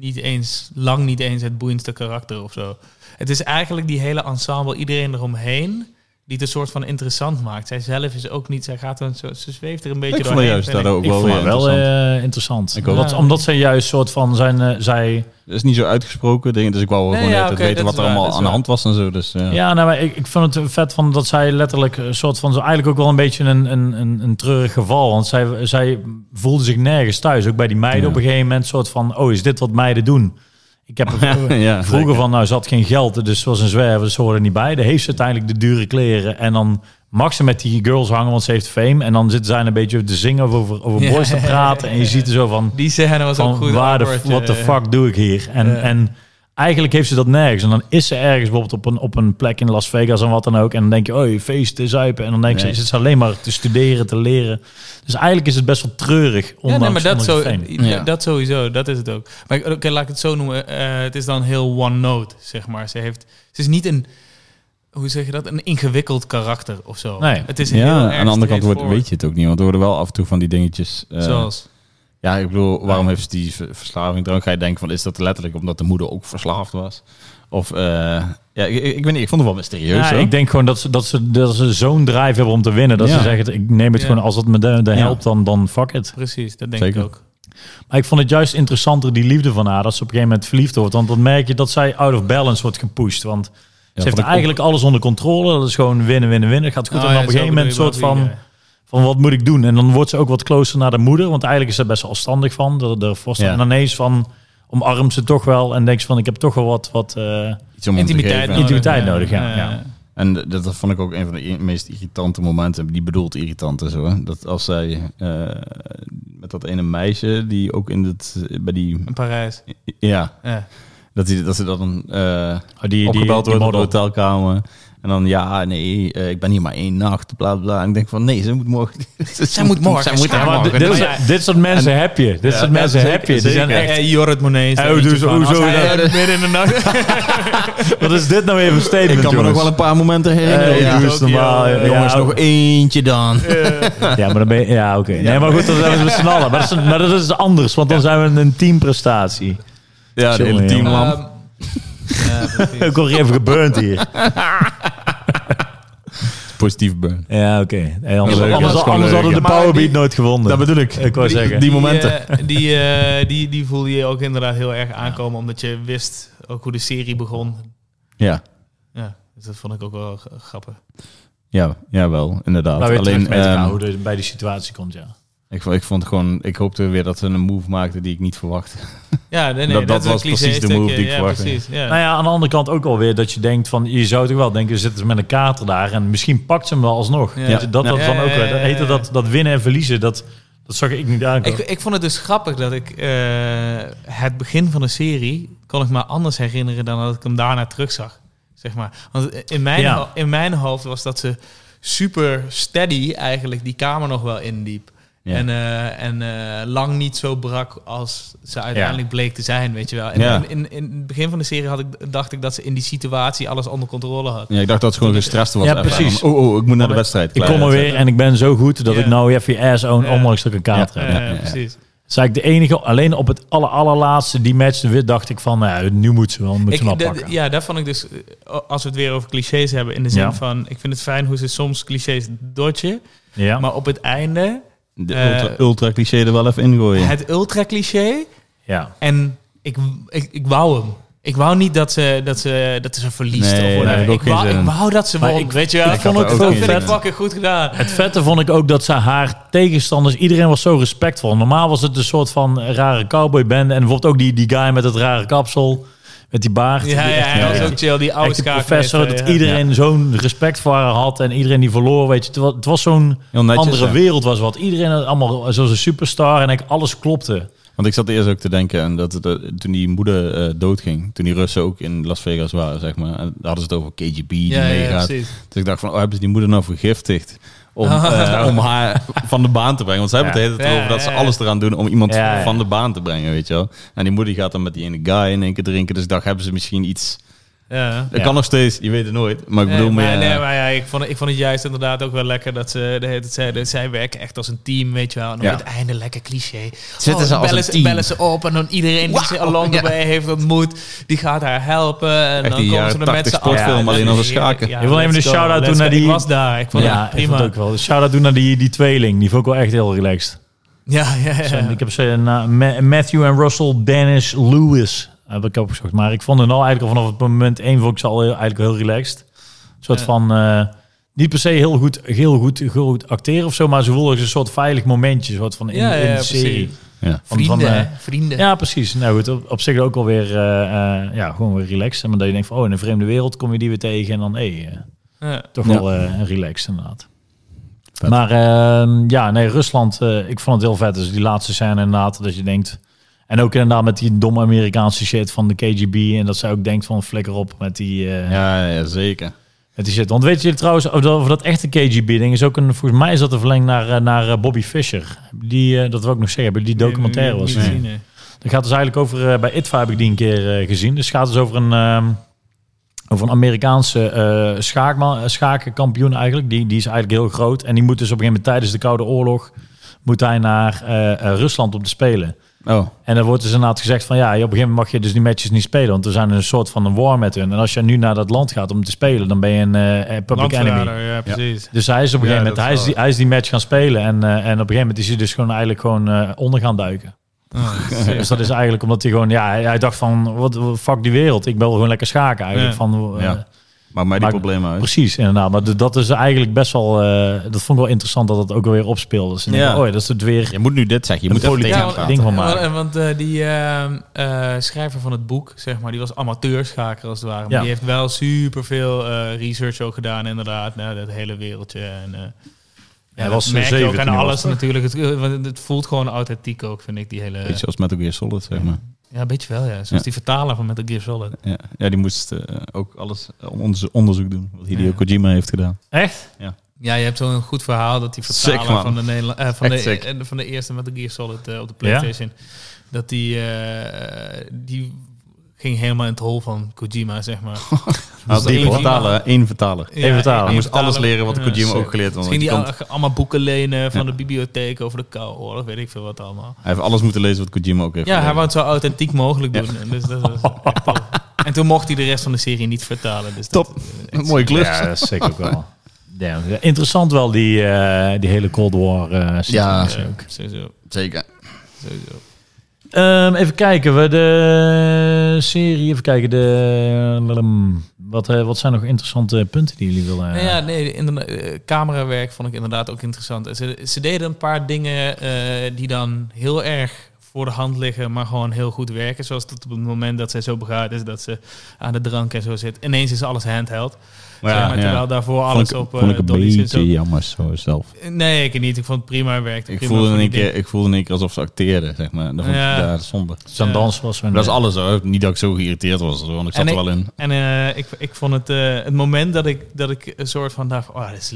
niet eens... Lang niet eens het boeiendste karakter of zo. Het is eigenlijk die hele ensemble, iedereen eromheen... Die het een soort van interessant maakt. Zij zelf is ook niet... Zij gaat een soort, ze zweeft er een beetje
Ik vond
doorheen.
dat juist
vind
daar ook
Ik
wel
vond het
weer
wel
interessant.
eh, interessant.
Ik ook.
Omdat- omdat zij juist soort van zijn... eh, zij,
Het is niet zo uitgesproken, dingen, dus ik wou
Nee,
gewoon
ja,
net
oké,
weten
dat
wat
is
er
waar,
allemaal
dat is
aan de
waar.
hand was en zo. Dus, eh,
ja, nou, maar ik, ik vond het vet van dat zij letterlijk een soort van... Zo eigenlijk ook wel een beetje een, een, een, een treurig geval. Want zij, zij voelde zich nergens thuis. Ook bij die meiden
Ja.
op een gegeven moment soort van... Oh, is dit wat meiden doen? Ik heb
ja,
vroeger
zeker.
van... Nou, ze had geen geld, dus ze was een zwerver. Dus ze hoorde niet bij. Dan heeft ze uiteindelijk de dure kleren. En dan mag ze met die girls hangen, want ze heeft fame. En dan zitten zij een beetje te zingen of over, over
Ja.
boys te praten. En je ziet er zo van...
Die scène was ook goed.
van waar de,
awkward,
what the
eh.
fuck doe ik hier? En,
Ja.
en eigenlijk heeft ze dat nergens. En dan is ze ergens bijvoorbeeld op een, op een plek in Las Vegas en wat dan ook. En dan denk je, oh, feesten, zuipen. En dan denk je,
Nee.
zit ze alleen maar te studeren, te leren. Dus eigenlijk is het best wel treurig,
Ja,
ondanks
nee, maar dat, zo,
ondanks je fame.
Ja.
dat sowieso, dat is het ook. Maar ik- oké, laat ik het zo noemen. eh, het is dan heel one note, zeg maar. Ze, heeft, ze is niet een, hoe zeg je dat, een ingewikkeld karakter of zo.
Nee.
het is heel
Ja,
erg
aan de andere kant wordt,
straightforward.
weet je het ook niet, want er worden wel af en toe van die dingetjes. eh,
Zoals,
Ja, ik bedoel, waarom heeft ze die ver- verslaving? Dan ga je denken van, is dat letterlijk omdat de moeder ook verslaafd was? Of, eh, ja, ik, ik, ik weet niet, ik vond het wel mysterieus.
Ja,
hoor.
ik denk gewoon dat ze, dat ze, dat ze zo'n drive hebben om te winnen. Dat
Ja.
ze zeggen, ik neem het
Ja.
gewoon als dat me de, de
Ja.
helpt, dan, dan fuck it.
precies, dat denk
Zeker.
ik ook.
Maar ik vond het juist interessanter, die liefde van haar, dat ze op een gegeven moment verliefd wordt. Want dan merk je dat zij out of balance wordt gepusht. Want
Ja,
ze
vond
heeft
ik ook-
eigenlijk alles onder controle. Dat is gewoon winnen, winnen, winnen. Het gaat goed.
Oh
en
ja,
op een
zo
gegeven moment
bedoel je,
soort van,
maar wie, eh,
van wat moet ik doen? En dan wordt ze ook wat closer naar de moeder. Want eigenlijk is ze best wel afstandig van. De, de foster.
Ja.
En ineens van omarmt ze toch wel. En denkt ze van ik heb toch wel wat, wat eh,
Iets om
eh,
hem te
Intimiteit
geven.
nodig.
Intimiteit
eh,
nodig, ja,
eh,
ja.
En d- dat vond ik ook een van de i- meest irritante momenten. Die bedoeld irritant is hoor. Dat als zij eh, met dat ene meisje die ook in het bij die
In Parijs,
ja
ja.
dat, die, dat ze dat dan eh,
Oh, die, die,
opgebeld
die
wordt op de
model.
hotelkamer en dan ja nee eh, ik ben hier maar één nacht bla bla. En ik denk van nee ze moet morgen
Zij moet morgen,
zij moet
schaam.
daar
Ja, maar
morgen.
dit, dit,
Ja.
soort- dit soort mensen heb je. Dit soort mensen
zeker,
heb je. Die zijn
zeker.
echt...
Eh, Jorrit Monet. is
Eh,
daar
hoe doe
eentje
ze-
van. Als
hoezo
hij
dat?
het midden in de nacht.
Wat is dit nou even een statement,
Ik kan me nog
jongens?
wel een paar momenten herinneren.
Eh,
ja.
doe eens normaal.
Tokio,
Ja,
Jongens, nog eentje dan.
Ja, maar dan ben je- Ja, oké. Nee, maar goed, dan zijn we dus met z'n allen. Maar dat, is, maar dat is anders, want dan zijn we een teamprestatie.
Ja, de hele
Jongen,
team lam.
Ehm, ja, precies.
Ik word hier even geburnt hier.
Positief burn.
Ja, oké. Hey, anders
Ja,
anders,
leuk, ja, dat is gewoon
anders
leuk,
hadden
ja.
de
Maar
Powerbeat
die-
nooit gewonnen.
Dat bedoel ik.
Ik wou zeggen.
Die momenten.
eh, die, eh, die, die voelde je ook inderdaad heel erg aankomen, omdat je wist ook hoe de serie begon.
Ja.
Ja, dus dat vond ik ook wel g- grappig.
Ja, jawel, inderdaad.
Maar Nou, weer Alleen, terug met elkaar,
ehm,
hoe het bij die situatie komt, ja.
ik, vond- ik vond gewoon, ik hoopte weer dat ze een move maakten die ik niet verwachtte.
Ja, nee, nee,
Dat- dat
is een
was precies
cliché
de move die ik
ja,
verwachtte.
Precies, ja.
Nou ja, aan de andere kant ook alweer dat je denkt van... Je zou toch wel denken, we zitten met een kater daar... en misschien pakt ze hem wel alsnog.
Ja.
Weet je, Dat, dat
Ja.
dan ook
Ja, ja,
weer.
ja,
Dat,
ja.
heette dat, dat winnen en verliezen, dat, dat zag ik niet
ik,
aankomen.
ik vond het dus grappig dat ik eh, het begin van de serie kon ik me anders herinneren dan dat ik hem daarna terugzag. Zeg maar. Want in mijn,
Ja.
ho- in mijn hoofd was dat ze super steady eigenlijk die kamer nog wel indiep.
Ja.
En, eh, en eh, lang niet zo brak als ze uiteindelijk bleek te zijn, weet je wel. En
Ja.
in, in, in het begin van de serie had ik, dacht ik dat ze in die situatie alles onder controle had.
Ja, ik dacht dat ze gewoon gestrest was.
Ja,
Even
precies.
van, Oh, oh, ik moet naar de wedstrijd.
Ik kom er weer en ik ben zo goed dat
Ja.
ik nou even je ass own,
Ja.
ondanks dat ik een kater
Ja,
heb.
ja, ja.
Eh, precies.
is eigenlijk de enige, alleen op het aller, allerlaatste, die match, weer dacht ik van, nou, nu moet ze wel, moet ze
Ik-
hem
dat-
pakken.
ja, daar vond ik dus, eh, als we het weer over clichés hebben, in de zin
Ja.
van, ik vind het fijn hoe ze soms clichés dodgen,
Ja.
maar op het einde
De
Eh,
ultra, ultra cliché er wel even ingooien.
het ultra-cliché
ja.
en ik, ik, ik wou hem. Ik wou niet dat ze, dat ze, dat ze verliest.
Nee,
of
daar
whatever.
heb ik ook
ik,
geen
wou,
zin
ik
in.
wou dat ze
Maar
won,
ik-
weet je
ik
wel.
vond het
had er
veel
dat
ook
vind
geen
ik
zin in.
fucking goed gedaan.
Het vette vond ik ook dat ze haar tegenstanders, iedereen was zo respectvol. Normaal was het een soort van rare cowboyband. En bijvoorbeeld ook die, die guy met het rare kapsel, met die baard.
Ja,
Die
ja,
echt-
ja, dat is ook chill. Die oude
Echt de
schakel
professor,
heeft,
dat
eh, ja.
iedereen zo'n respect voor haar had en iedereen die verloor, weet je. Het was, het was zo'n
Heel netjes,
andere
hè?
wereld was wat. Iedereen had allemaal zoals een superstar en eigenlijk alles klopte.
Want ik zat eerst ook te denken, en dat, dat- toen die moeder eh, doodging, toen die Russen ook in Las Vegas waren, zeg maar, en daar hadden ze het over KGB die
Ja, ja,
meegaat.
precies.
dus ik dacht van, oh, hebben ze die moeder nou vergiftigd? Om,
Ah.
eh, om haar van de baan te brengen. Want zij hebben
Ja.
het de hele tijd
Ja,
over dat
ja,
ze
ja.
alles eraan doen om iemand
Ja, ja.
van de baan te brengen, weet je wel. En die moeder die gaat dan met die ene guy in één keer drinken. Dus ik dacht, hebben ze misschien iets...
Ja.
Dat
Ja.
kan nog steeds, je weet het nooit. Maar ik bedoel,
Nee,
meer,
maar,
eh,
nee, maar ja, ik vond, ik vond het juist inderdaad ook wel lekker dat ze de hele tijd zeiden, zij werken echt als een team, weet je wel. En dan
Ja.
op het einde lekker cliché.
Zitten
dan
ze als
bellen
een team?
Bellen ze op en dan iedereen die ze along
ja.
the way heeft ontmoet, die gaat haar helpen. En
Echt
dan
die
komen ze
jaren
er met
80
z'n allen.
sportfilm,
Ja,
alleen
dat
als
is
een schaken.
heerlijk.
Ik wil even
let's
een
go,
shout-out
let's
doen naar
go. Ik
die-
was daar, ik vond het
ik vond
prima.
het ook wel. Dus Shout-out doen naar die, die tweeling, die vond ik wel echt heel relaxed.
Ja, ja, ja.
En Ik heb ze na Ma- Matthew en Russell Dennis Lewis heb ik opgezocht. Maar ik vond het al eigenlijk al vanaf het moment één vond ik ze al heel, eigenlijk heel relaxed. Een soort
Ja.
van eh, niet per se heel goed, heel goed, heel goed acteren of zo, maar ze voelden als een soort veilig momentje, een soort van in,
Ja, ja,
in de
precies.
serie.
ja.
Van- van,
Vrienden,
eh,
hè, vrienden.
ja, precies. Nou goed, op, op zich ook alweer eh, eh, ja, gewoon weer relaxed. Maar dat je denkt van, oh, in een vreemde wereld kom je die weer tegen en dan, hé, hey, eh,
Ja.
toch
Ja.
wel eh, relaxed inderdaad.
Vet.
Maar ehm, ja, nee, Rusland, eh, ik vond het heel vet. Dus die laatste scène inderdaad, dat je denkt... En ook inderdaad met die domme Amerikaanse shit van de KGB. En dat zij ook denkt van flikker op met die, eh,
Ja, ja, zeker.
met die shit. Want weet je trouwens, over dat, over dat echte KGB-ding is ook een... Volgens mij is dat een verlenging naar, eh, naar eh, Bobby Fischer. Die, eh, dat wil ik nog zeggen, hebben die documentaire was.
Nee,
het.
nee, nee, nee.
Dat gaat dus eigenlijk over, eh, bij ITVA heb ik die een keer eh, gezien. Dus het gaat dus over een, ehm, over een Amerikaanse eh, schaakma- eh, schakenkampioen eigenlijk. Die, die is eigenlijk heel groot. En die moet dus op een gegeven moment tijdens de Koude Oorlog, moet hij naar eh, eh, Rusland om te spelen.
Oh,
En dan wordt dus inderdaad gezegd van ja, op een gegeven moment mag je dus die matches niet spelen. Want er zijn een soort van een war met hun. En als je nu naar dat land gaat om te spelen, dan ben je een eh, eh, public enemy.
Landverrader, ja, precies.
Dus hij is op een
Ja,
gegeven moment,
dat
hij is,
zal-
die, hij is die match gaan spelen. En, eh, en op een gegeven moment is hij dus gewoon eigenlijk gewoon eh, onder gaan duiken.
Ah,
Dus dat is eigenlijk omdat hij gewoon, ja, hij, hij dacht van, wat wat- fuck die wereld, ik wil gewoon lekker schaken eigenlijk.
Ja.
Van, eh,
Ja. maak mij die
Maar-
problemen uit.
Precies, inderdaad. Maar d- dat is eigenlijk best wel, eh, dat vond ik wel interessant dat dat ook alweer opspeelde. Dus ik
Ja.
denk, oh ja, dat is het weer.
Je moet nu dit zeggen. Je moet even
politiek
tegen
Ja,
hem
want-
praten.
ding van
Ja,
maken.
Want, want, eh, die ehm, eh, schrijver van het boek, zeg maar, die was amateurschaker als het ware. Maar
Ja.
die heeft wel superveel eh research ook gedaan, inderdaad, naar dat hele wereldje. En, eh, ja,
hij
dat
was
merk je ook
17
aan
was
alles
hij.
natuurlijk. Het, eh, want het voelt gewoon authentiek ook, vind ik, die hele...
Beetje als Metal Gear Solid, zeg maar.
Ja, een beetje wel, ja. Zoals
Ja.
die vertaler van Metal Gear Solid.
Ja, ja die moest eh, ook alles eh, onderzo- onderzoek doen. Wat Hideo
Ja.
Kojima heeft gedaan.
Echt?
Ja, je hebt zo'n goed verhaal dat die vertaler
Sick, man.
van, de Nederla- eh, van,
Echt
de,
sick.
eh, van de eerste Metal Gear Solid eh, op de Playstation, dat die, eh, die ging helemaal in het hol van Kojima, zeg maar. Dus
Hij had
dat
één
één
vertaler. Één vertaler.
Ja,
Even vertalen.
Hij
één
moest alles leren wat
Ja,
Kojima
sick.
ook geleerd had.
Misschien
want
die
die kon-
al- allemaal boeken lenen van
Ja.
de bibliotheek over de Koude Oorlog, weet ik veel wat allemaal.
Hij heeft alles moeten lezen wat Kojima ook heeft
Ja, hij
geleerd.
wou het zo authentiek mogelijk doen. En, dus dat is echt tof. en toen mocht hij de rest van de serie niet vertalen. Dus
Top.
Dat, eh,
Een mooie klus.
Ja, dat is zeker ook wel. Ja, interessant wel die, eh, die hele Cold War eh
Ja.
situatie
eh,
ook.
Sowieso.
Zeker.
sowieso.
Ehm, even kijken, we de serie, even kijken, de, wat, eh, wat zijn nog interessante punten die jullie willen?
Eh.
Nou ja, nee, inderdaad, eh, camerawerk vond ik inderdaad ook interessant. En Ze, ze deden een paar dingen eh, die dan heel erg voor de hand liggen, maar gewoon heel goed werken. Zoals tot op het moment dat zij zo begaafd is, dat ze aan de drank en zo zit. Ineens is alles handheld.
Maar
zeg
ja,
maar,
ja.
Terwijl daarvoor
Vond
alles
ik,
op eh
vond ik een
dollies en zo.
beetje jammer zo zelf.
Nee, ik niet. Ik vond het prima. het werkte
Ik
prima
voelde,
voor
in
die
een keer, ik voelde in een keer alsof ze acteerden, zeg maar. Dat vond ik
Ja.
daar zonde.
Zo'n
eh,
dans was
Dat is alles hoor. Niet dat ik zo geïrriteerd was, hoor, want ik zat
En
er wel in.
En eh, ik, ik vond het, eh, het moment dat ik, dat ik een soort van dacht, oh, dit is,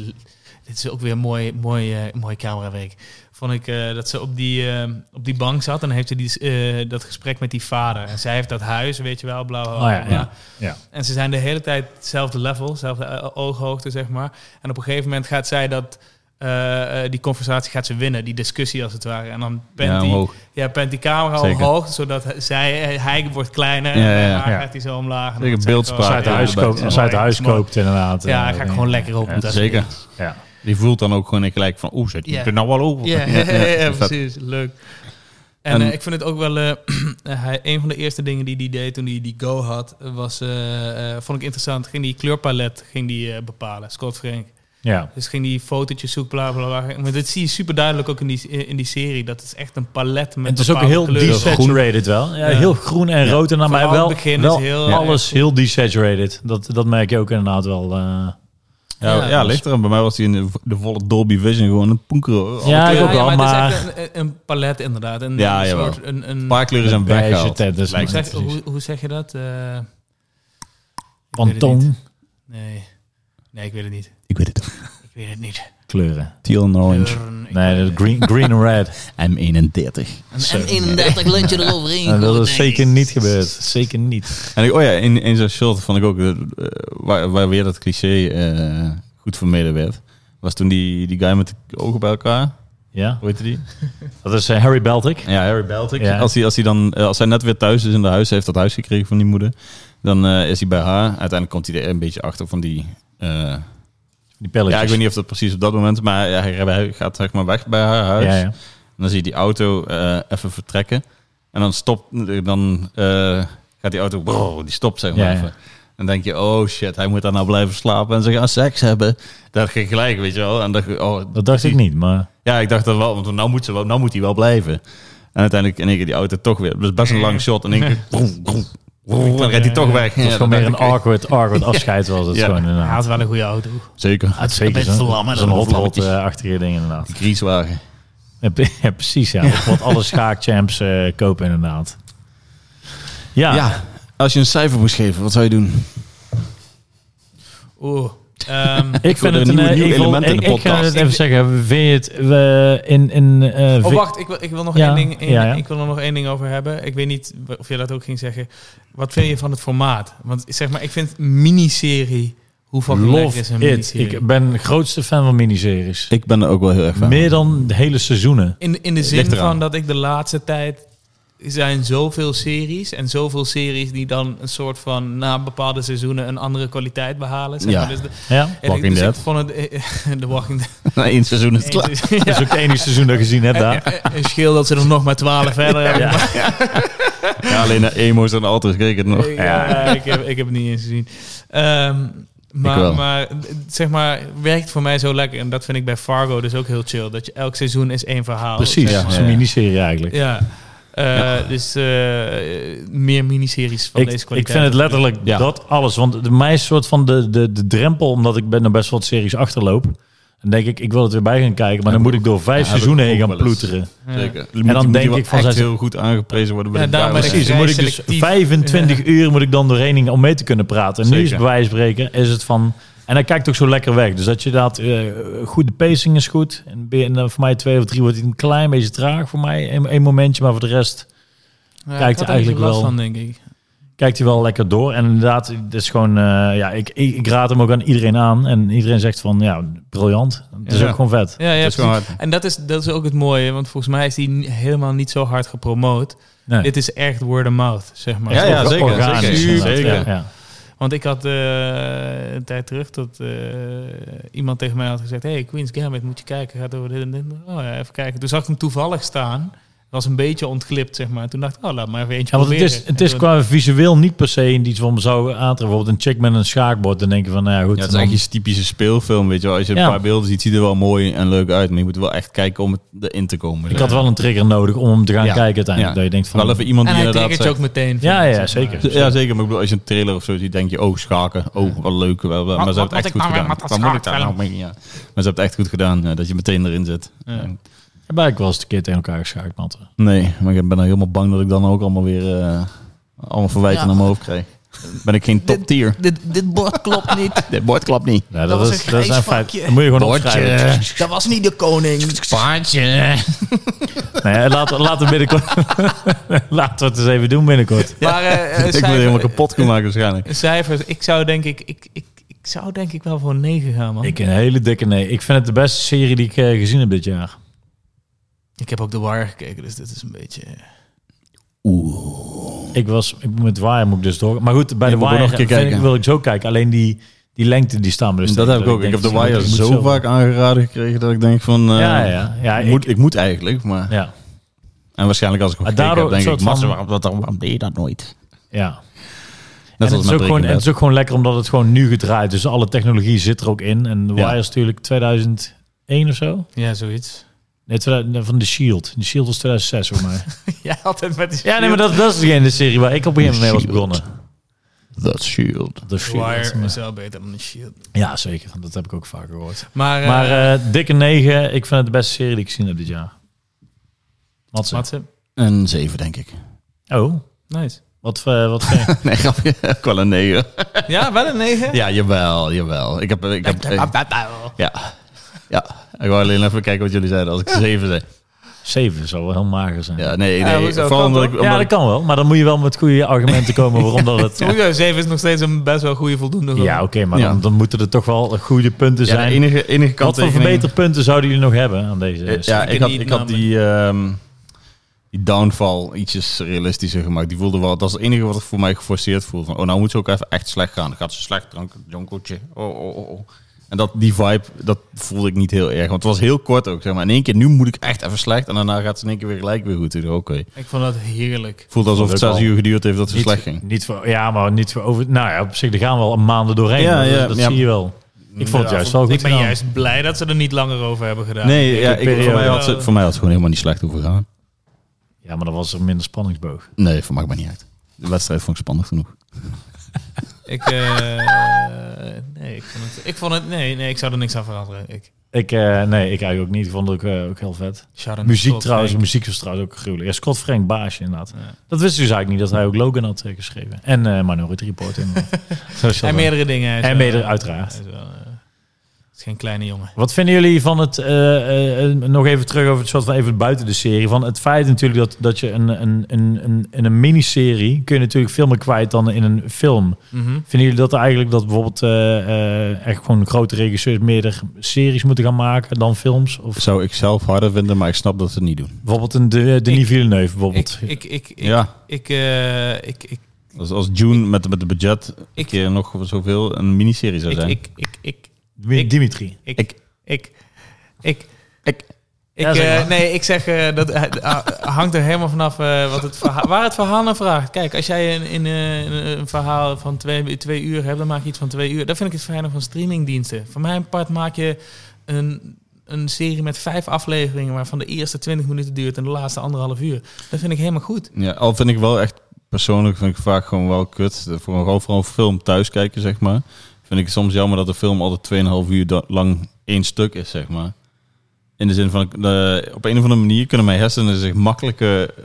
dit is ook weer mooi, mooi, eh, mooi camerawerk. Vond ik eh, dat ze op die, eh, op die bank zat en dan heeft ze die, eh, dat gesprek met die vader. En zij heeft dat huis, weet je wel, bla bla bla.
Oh ja, ja.
bla.
ja.
En ze zijn de hele tijd hetzelfde level, dezelfde eh, ooghoogte, zeg maar. En op een gegeven moment gaat zij dat eh, eh, eh, die conversatie gaat ze winnen, die discussie als het ware. En dan pent,
Ja,
die,
omhoog.
ja, pent die camera
Zeker.
omhoog, zodat hij- zij, eh, hij wordt kleiner
Ja,
en
ja,
haar
ja.
gaat hij zo omlaag. En
Zeker,
dan zegt
beeldspraak.
hij,
Als
oh,
je uit huis
Ja, dat-
koopt, als je uit huis koopt inderdaad.
Ja,
eh,
ga ik gewoon lekker op.
Ja,
want dat is-
Zeker.
Ja.
Die voelt dan ook gewoon gelijk van, oeh, zit die
Ja.
er nou wel over?
Ja, ja, ja, precies. Leuk. En,
En-
eh, ik vind het ook wel... eh, hij, een van de eerste dingen die hij deed toen hij die Go had... was, eh, eh, vond ik interessant, ging die kleurpalet ging die, eh, bepalen. Scott Frank.
ja.
Dus ging die fotootjes zoeken, bla bla bla. Maar dat zie je super duidelijk ook in die, eh, in die serie. Dat is echt een palet met
En het is ook
bepaalde
heel
kleuren.
desaturated wel. Ja,
Ja.
Heel groen en rood. En dan maar
Vooral
wel,
het begin is
wel
heel- ja,
alles heel desaturated. Dat, dat merk je ook inderdaad wel. eh.
Ja, ja,
Ja.
ligt er. Bij mij was hij in de, de volle Dolby Vision gewoon een poenker. hoor.
Ja, ik ook wel,
Het is
maar...
echt een, een palet inderdaad. Een,
Ja,
een
jawel.
soort... Een, een,
Een paar kleuren zijn
Een beige
weggehaald.
tent dus is
lijkt
hoe,
me.
zeg, hoe, hoe zeg je dat? Eh,
Pantoon
nee. nee, ik weet het niet.
Ik weet het.
Ik weet het niet.
kleuren.
Teal en orange.
Kleuren, ik weet
Nee,
het
dat
niet.
green, green en red.
M31.
Zo.
En 31 lintje eroverheen.
En dat
gooit,
is
denk ik.
zeker niet gebeurd. Zeker niet.
En ik, oh ja, in, in zo'n shot vond ik ook, eh, waar, waar weer dat cliché eh, goed vermeden werd, was toen die, die guy met de ogen bij elkaar,
Ja,
hoe heette die?
dat is eh, Harry Beltic.
Ja, Harry Beltic.
Ja.
Als, hij, als, hij dan, eh, als hij net weer thuis is in de huis, heeft dat huis gekregen van die moeder, dan eh, is hij bij haar. Uiteindelijk komt hij er een beetje achter van die... eh,
Die pelletjes.
ja, ik weet niet of dat precies op dat moment, maar ja, hij- hij gaat zeg maar weg bij haar huis.
Ja, ja.
En dan zie je die auto eh, even vertrekken. En dan stopt, dan eh, gaat die auto, brrr, die stopt zeg maar
Ja, ja.
even. Dan denk je, oh shit, hij moet daar nou blijven slapen en ze gaan seks hebben. Dat ging gelijk, weet je wel. En dacht, ik, oh,
Dat dacht ik niet, maar...
ja, ik dacht dat wel, want nou moet, ze wel, nou moet hij wel blijven. En uiteindelijk in één keer die auto toch weer. Dus best een lang shot. En in één keer, broem, broem, broem, dan rijdt hij toch weg.
Het was gewoon meer een
arc.
awkward, awkward afscheid was het
Ja.
gewoon
Hij
inderdaad.
had wel een goede auto.
Zeker.
Het zeker
best vlam, hè,
zo'n zo'n
dat is
hot
een
rod
vlammetje.
eh, achtige ding inderdaad.
Grieswagen.
Ja, pre- ja, precies ja. Wat alle schaakchamps eh, kopen inderdaad. Ja,
Ja, als je een cijfer moest geven, wat zou je doen?
Oeh. Ehm,
ik vind
er
het
een
een
nieuw-
eh,
nieuw
ik wil-
element in de
ik- Ik ga
podcast.
het even zeggen. Vind je het eh, in... in eh,
oh,
vi-
wacht. Ik wil, ik wil nog
Ja,
één ding, één-
ja, ja.
Ik wil er nog één ding over hebben. Ik weet niet of jij dat ook ging zeggen. Wat vind je van het formaat? Want zeg maar, ik vind miniserie... Hoeveel
Love
is een
it.
miniserie?
Ik ben grootste fan van miniseries.
Ik ben er ook wel heel erg van.
Meer dan de hele seizoenen.
In, in de zin
Ligt eraan.
van dat ik de laatste tijd zijn zoveel series en zoveel series die dan een soort van na bepaalde seizoenen een andere kwaliteit behalen. Zeg
Ja.
maar. Dus de,
Ja.
en ik,
Walking
dus
Dead.
ik vond het eh, de Walking Dead.
Na één seizoen is het klaar.
Ja.
Dat is ook het enige seizoen dat je gezien hebt daar.
Eh, eh, Een schil dat ze er nog maar twaalf verder hebben.
Ja.
Ja, alleen naar emo's en alters keek het nog.
Ik, ja, ik, heb, ik heb het niet eens gezien. Ehm,
wel.
maar, maar eh, zeg maar, werkt voor mij zo lekker. En dat vind ik bij Fargo dus ook heel chill. Dat je elk seizoen is één verhaal.
Precies.
Ja,
Het is
ja,
een
ja.
miniserie eigenlijk.
Ja. Eh, Dus eh, eh, meer miniseries van
Ik,
deze
ik
kwaliteit.
vind het letterlijk
Ja.
dat alles. Want de, mij is soort van de, de, de drempel, omdat ik ben nog best wel wat series achterloop. Dan denk ik, ik wil het weer bij gaan kijken. Maar dan moet ik door vijf
Ja, heb ik
seizoenen heen
ook
gaan
wel eens.
ploeteren.
Ja.
Zeker.
dan denk
die wel
ik van,
echt
zijn ze-
heel goed aangeprezen worden. bij
Ja,
de
daarom ben ik-
Precies, dan moet ik dus
selectief.
25
Ja.
uur moet ik dan doorheen om mee te kunnen praten. En nu is
Zeker.
bij wijze van spreken, is het van... En hij kijkt ook zo lekker weg. Dus dat je dat... eh goed, de pacing is goed. En, ben je- en dan voor mij twee of drie wordt hij een klein beetje traag voor mij. Een, een momentje, maar voor de rest
Ja,
kijkt
ik had er
eigenlijk
niet last
wel.
Van, denk ik.
kijkt hij wel lekker door. En inderdaad, het is gewoon... eh, ja, ik, ik, ik raad hem ook aan iedereen aan. En iedereen zegt van, ja, briljant. Het is
Ja.
ook gewoon vet.
Ja, ja,
Dat is gewoon
precies.
hard.
en dat is, dat is ook het mooie, want volgens mij is die ni- helemaal niet zo hard gepromoot.
Nee.
Dit is echt word of mouth, zeg maar.
Ja, ja,
Orga-
zeker,
Organisch.
zeker.
inderdaad.
Zeker.
Ja, ja.
Want ik had eh, een tijd terug dat eh, iemand tegen mij had gezegd... hey, Queen's Gambit, moet je kijken, gaat over dit en dit. Oh ja, even kijken. Toen zag ik hem toevallig staan. Was een beetje ontglipt, zeg maar. Toen dacht ik, oh, laat maar even eentje
Ja, want het
proberen.
is, het is
En toen-
qua visueel niet per se iets wat me zou aantreffen. Bijvoorbeeld een chick met een schaakbord. Dan denk je van, nou ja, goed.
Ja, het is
dan-
eigenlijk iets typische speelfilm, weet je wel. Als je
Ja.
een paar beelden ziet, ziet het er wel mooi en leuk uit. Maar je moet wel echt kijken om het erin te komen.
Ik had wel een trigger nodig om hem te gaan
Ja.
kijken uiteindelijk.
Ja.
Dat je denkt van...
Wel even iemand
En
die
hij
inderdaad
triggert je
zegt...
ook meteen. vind
ja,
ik,
ja,
zeg maar.
zeker.
Ja, zeker. Maar ik bedoel, als je een trailer of zo ziet, denk je... Oh, schaken. Oh, wat leuk. Wel, wel. Maar ze
wat
hebben het
moet ik
echt goed
nou
gedaan.
met dat
Wat moet ik daar nou
schaakfilm?
mee? Ja. Maar ze hebben het echt goed gedaan. ja, dat je meteen erin zit.
Ja.
Daar ben ik wel eens een keer tegen elkaar geschaakt, man.
Nee, maar ik ben dan helemaal bang dat ik dan ook allemaal weer... eh, allemaal verwijten
Ja.
naar mijn hoofd krijg. Ben ik geen top tier.
Dit, dit bord klopt niet.
Dit bord klapt niet.
Ja,
Dat
dat,
was
is,
een
dat is
grijs
een feit.
vakje.
Dat moet je gewoon opschrijven.
Dat was niet de koning.
Paardje.
Nee, hè, laten, we- laten, we binnenkort, laten we het eens even doen binnenkort.
Maar eh, eh,
Ik word
cijfer-
helemaal kapot gemaakt waarschijnlijk.
cijfers, ik zou denk ik, ik, ik, ik Ik zou denk ik wel voor een 9 gaan, man. Ik,
Ik een hele dikke nee. Ik vind het de beste serie die ik eh, gezien heb dit jaar.
heb ook The Wire gekeken, dus dit is een beetje...
Ik was ik, moet- met Wire moet ik dus door. Maar goed, bij
Ik
de
moet ook
Wire
nog een keer
vind ik-
kijken.
wil ik zo kijken. Alleen die, die lengte die staan me dus.
dat
tegen.
heb ik ook. Ik heb
denk,
de
ja,
Wire
ik moet
zo vaak aangeraden gekregen dat ik denk van... eh,
Ja, ja, ja.
ik,
ik-
moet, ik moet eigenlijk, maar...
ja,
En waarschijnlijk als ik hem
Maar
gekeken
daardoor-
heb, denk ik...
soort van-
"Mats, waarom, waarom, waarom deed je dat nooit?
ja.
Net
en het, is
als met
ook gewoon,
Breaking
het
Bad.
is ook gewoon lekker omdat het gewoon nu gedraaid is. Dus alle technologie zit er ook in. En The
Ja.
Wire is natuurlijk 2001 of zo.
Ja, zoiets.
Nee, 2000 van The Shield. The Shield was 2006 voor mij.
Ja, altijd met die
ja, nee, maar dat, dat is degene de serie waar ik op een gegeven moment mee was
The Shield.
begonnen.
That Shield.
The
The
Shield.
Wire is wel beter dan The Shield.
Ja, zeker. Dat heb ik ook vaak gehoord.
Maar, eh,
Maar eh, dikke 9. Ik vind het de beste serie die ik gezien heb dit jaar. Matze.
Matze,
Een 7, denk ik.
Oh,
nice.
wat, eh, wat ver.
Nee, grapje. Ook wel een 9.
Ja, Ah, wel een 9?
Ja, jawel, jawel. Ik heb... Ik heb eh, ja. Ja. Ik wou alleen even kijken wat jullie zeiden als ik 7 zei.
7 zou wel heel mager zijn. Ja,
Ja, nee,
Ja,
nee.
hoezo?
vooral
Kan
omdat ik...
toch?
omdat
dat
ik-
kan wel. Maar dan moet je wel met goede argumenten komen waarom dat het... Ja,
7 is nog steeds een best wel goede voldoende.
oké, maar dan,
Ja.
dan moeten er toch wel goede punten
ja, de
zijn.
enige, enige
Wat voor
kanttekening-
verbeterpunten zouden jullie nog hebben aan deze
Eh,
serie?
Ja, ik had,
niet
ik had die, ehm, die downfall ietsjes realistischer gemaakt. Die voelde wel, dat is het enige wat voor mij geforceerd voelde. Van, oh, nou moet ze ook even echt slecht gaan. Dan gaat ze slecht, drank, jonkeltje. Oh, oh, oh, oh. En dat, die vibe, dat voelde ik niet heel erg. Want het was heel kort ook, zeg maar. In één keer, nu moet ik echt even slecht. En daarna gaat ze in één keer weer gelijk weer goed. Ik dacht, Oké.
Ik vond dat heerlijk.
Voelde alsof het
Leuk
zes
al.
uur geduurd heeft dat ze slecht
niet,
ging.
niet voor, ja, maar niet voor over... Nou ja, op zich, er gaan wel maanden doorheen.
Ja,
Dat-
ja,
dat
ja.
zie je wel. Ik vond het juist wel goed
ik ben
gedaan.
juist blij dat ze er niet langer over hebben gedaan.
Nee, ja, ik, voor,
periode.
mij had ze, voor mij had ze gewoon helemaal niet slecht hoeven gaan.
Ja, maar dan was er minder spanningsboog.
Nee, voor mij maakt me niet uit. De wedstrijd vond ik spannend genoeg.
Ik, eh, nee, ik vond het... Ik vond het nee, nee, ik zou er niks aan veranderen. Ik,
Ik, eh, nee, ik eigenlijk ook niet. Ik vond het ook, eh, ook heel vet.
Sharon
Muziek
Scott,
trouwens,
denk ik.
muziek was trouwens ook gruwelijk. Ja, Scott Frank Baasje inderdaad. Dat wist ik dus eigenlijk niet, dat hij ook Logan had eh, geschreven. En eh Minority Report inderdaad. Zoals je
En
al zei.
meerdere dingen. hij is
en
wel-
meerdere,
hij
uiteraard.
is wel, eh, het is geen kleine jongen.
Wat vinden jullie van het, eh, eh, eh, nog even terug over het soort van even buiten de serie, van het feit natuurlijk dat, dat je een, een, een, een, in een miniserie kun je natuurlijk veel meer kwijt dan in een film.
Mhm.
Vinden jullie dat eigenlijk dat bijvoorbeeld eh, eh, echt gewoon grote regisseurs meerdere series moeten gaan maken dan films? Of
Zou ik zelf harder vinden, maar ik snap dat ze het niet doen.
bijvoorbeeld een de, eh, Denis Villeneuve bijvoorbeeld.
Ik, ik, ik, ik,
Ja.
ik, eh, ik, ik,
Als, Dus als June met, met het budget een
Ik-
keer nog zoveel een miniserie zou
ik,
zijn.
ik, ik, ik,
Dimitri.
ik-
Dimitri.
ik, ik,
Ik-
ik, ik,
Ik-
Ik,
Ja, zeg
eh,
maar.
nee, ik zeg eh, dat eh, eh, hangt er helemaal vanaf eh, wat het verhaal, waar het verhaal naar vraagt. Kijk, als jij een, in, eh, een, een verhaal van twee, twee uur hebt, dan maak je iets van twee uur. Dat vind ik het fijne van streamingdiensten. Voor mijn part maak je een, een serie met vijf afleveringen, waarvan de eerste twintig minuten duurt en de laatste anderhalf uur. Dat vind ik helemaal goed.
Ja, al vind ik wel echt persoonlijk vind ik vaak gewoon wel kut. Voor een, voor een film thuis kijken, zeg maar. Vind ik het soms jammer dat de film altijd 2,5 uur da- lang één stuk is, zeg maar. In de zin van, eh, op een of andere manier kunnen mijn hersenen zich makkelijker eh,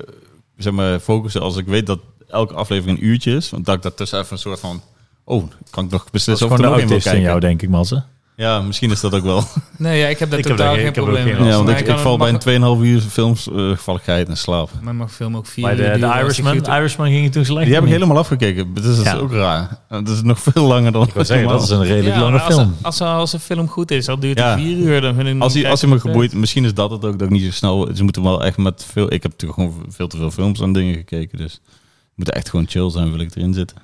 zeg maar, focussen als ik weet dat elke aflevering een uurtje is. Want dat ik daartussen even een soort van, oh, kan ik nog
Dat is
beslissen of
gewoon
ik
de
er nog in wil
autist in
kijken.
jou, denk ik, Matze.
Ja, misschien is dat ook wel.
Nee, ja, ik heb daar
Ik heb
totaal
daar-
geen
ik heb er ook
probleem mee.
geen last van.
Ja, want
Maar
ik,
kan
ik val
het
bij
makkelijk-
een 2,5 uur films eh, gevalligheid en slaap.
Maar mag film ook vier
Bij
uur
de, de
duren eh, als
Irishman,
je goed-
Irishman ging het toen slecht.
Die heb ik
of niet?
helemaal afgekeken. dus Dat is, dat is
Ja.
ook raar. Dat is nog veel langer dan.
Ik wou zeggen, dat is een redelijk
Ja,
lange
als-
film.
Als, als, een film goed is, al duurt
Ja.
het vier uur, dan vind ik
Als hij,
kijk
als hij
ik
me
het
geboeid, misschien is dat het ook, dat ik niet zo snel. Ze moeten wel echt met veel. Ik heb natuurlijk gewoon veel te veel films en dingen gekeken. Dus het moet echt gewoon chill zijn, wil ik erin zitten.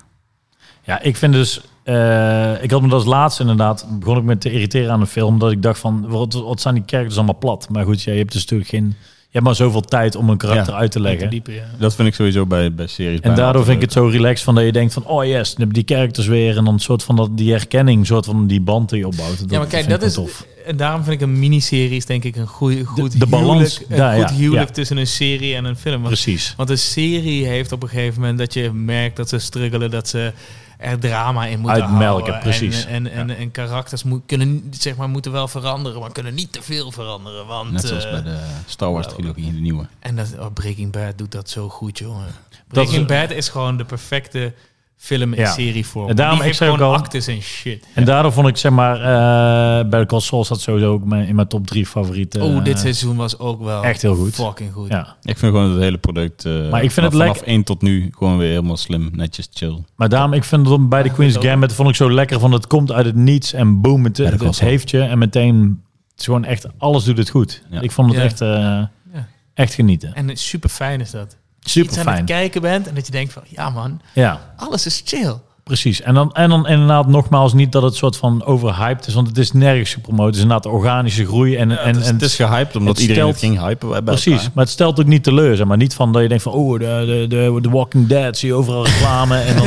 Ja, ik vind dus... eh, ik had me dat als laatste inderdaad... begon ik me te irriteren aan een film... dat ik dacht van, wat, wat zijn die characters allemaal plat? Maar goed, ja, je hebt dus natuurlijk geen... Je hebt maar zoveel tijd om een karakter
Ja,
uit te
vet. Te
leggen.
diep, ja.
Dat vind ik sowieso bij, bij series.
En daardoor vind ik het zo relaxed van dat je denkt van... oh yes, dan heb je die characters weer. En dan een soort van dat, die herkenning, soort van die band die je opbouwt. Dat
Ja, maar kijk,
vind ik
dat is.
wel tof.
En daarom vind ik een miniserie is denk ik een goeie, goed
de balans,
huwelijk, een
daar,
goed
ja,
huwelijk
ja.
tussen een serie en een film. Want,
Precies.
want een serie heeft op een gegeven moment dat je merkt dat ze struggelen, dat ze er drama in moeten
Uitmelken,
houden. En-
precies.
En, en, en, en karakters moet, kunnen, zeg maar, moeten wel veranderen, maar kunnen niet te veel veranderen. Want,
Net zoals
eh,
bij de Star Wars trilogie, de nieuwe.
En dat, oh, Breaking Bad doet dat zo goed, jongen.
Dat is-
Breaking Bad is gewoon de perfecte film en
Ja.
serie voor.
En daarom,
die heeft
ik zei
gewoon
ook al-
actes en shit.
En daardoor vond ik, zeg maar, eh Better Call Saul staat sowieso ook mijn- in mijn top drie favorieten.
oh, dit
Eh,
seizoen was ook wel
echt heel goed.
fucking goed.
Ja.
Ik vind gewoon het hele product eh
Maar ik vind het
vanaf
lek-
1 tot nu gewoon weer helemaal slim, netjes, chill.
Maar daarom, ik vind het bij de Queen's Gambit vond ik zo lekker van het komt uit het niets en boom, het, het,
Better Call Saul.
heeft je. En meteen, het is gewoon echt, alles doet het goed.
Ja.
Ik vond het
Ja.
echt, eh, echt genieten.
En super fijn is dat.
Super
Iets aan het
fijn.
kijken bent en dat je denkt van, ja man,
Ja.
alles is chill.
Precies. En dan, en dan inderdaad nogmaals niet dat het soort van overhyped is, want het is nergens gepromoot. Het is inderdaad organische groei. En, en,
het, is,
en
het is gehyped omdat
het
iedereen
stelt-
het ging hypen. bij elkaar.
Precies, maar het stelt ook niet teleur. Zeg maar niet van dat je denkt van, oh, de, de, de, de Walking Dead, zie je overal reclame. en dan,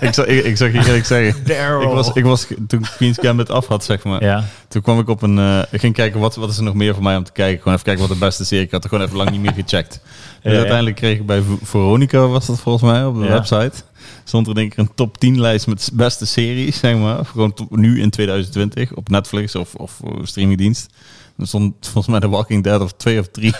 ik, zal, ik, ik zal je eerlijk zeggen, ik was, ik was, toen Queen's Gambit af had, zeg maar,
ja.
toen kwam ik op een, eh, ik ging kijken wat, wat is er nog meer voor mij om te kijken. Gewoon even kijken wat de beste serie, ik had er gewoon even lang niet meer gecheckt. Dus
ja.
uiteindelijk kreeg ik bij V- Veronica, was dat volgens mij, op de
Ja.
website, stond er denk ik een top 10 lijst met beste series, zeg maar. Of Gewoon tot nu in 2020 op Netflix of, of eh, streamingdienst. Er stond volgens mij The Walking Dead of twee of drie.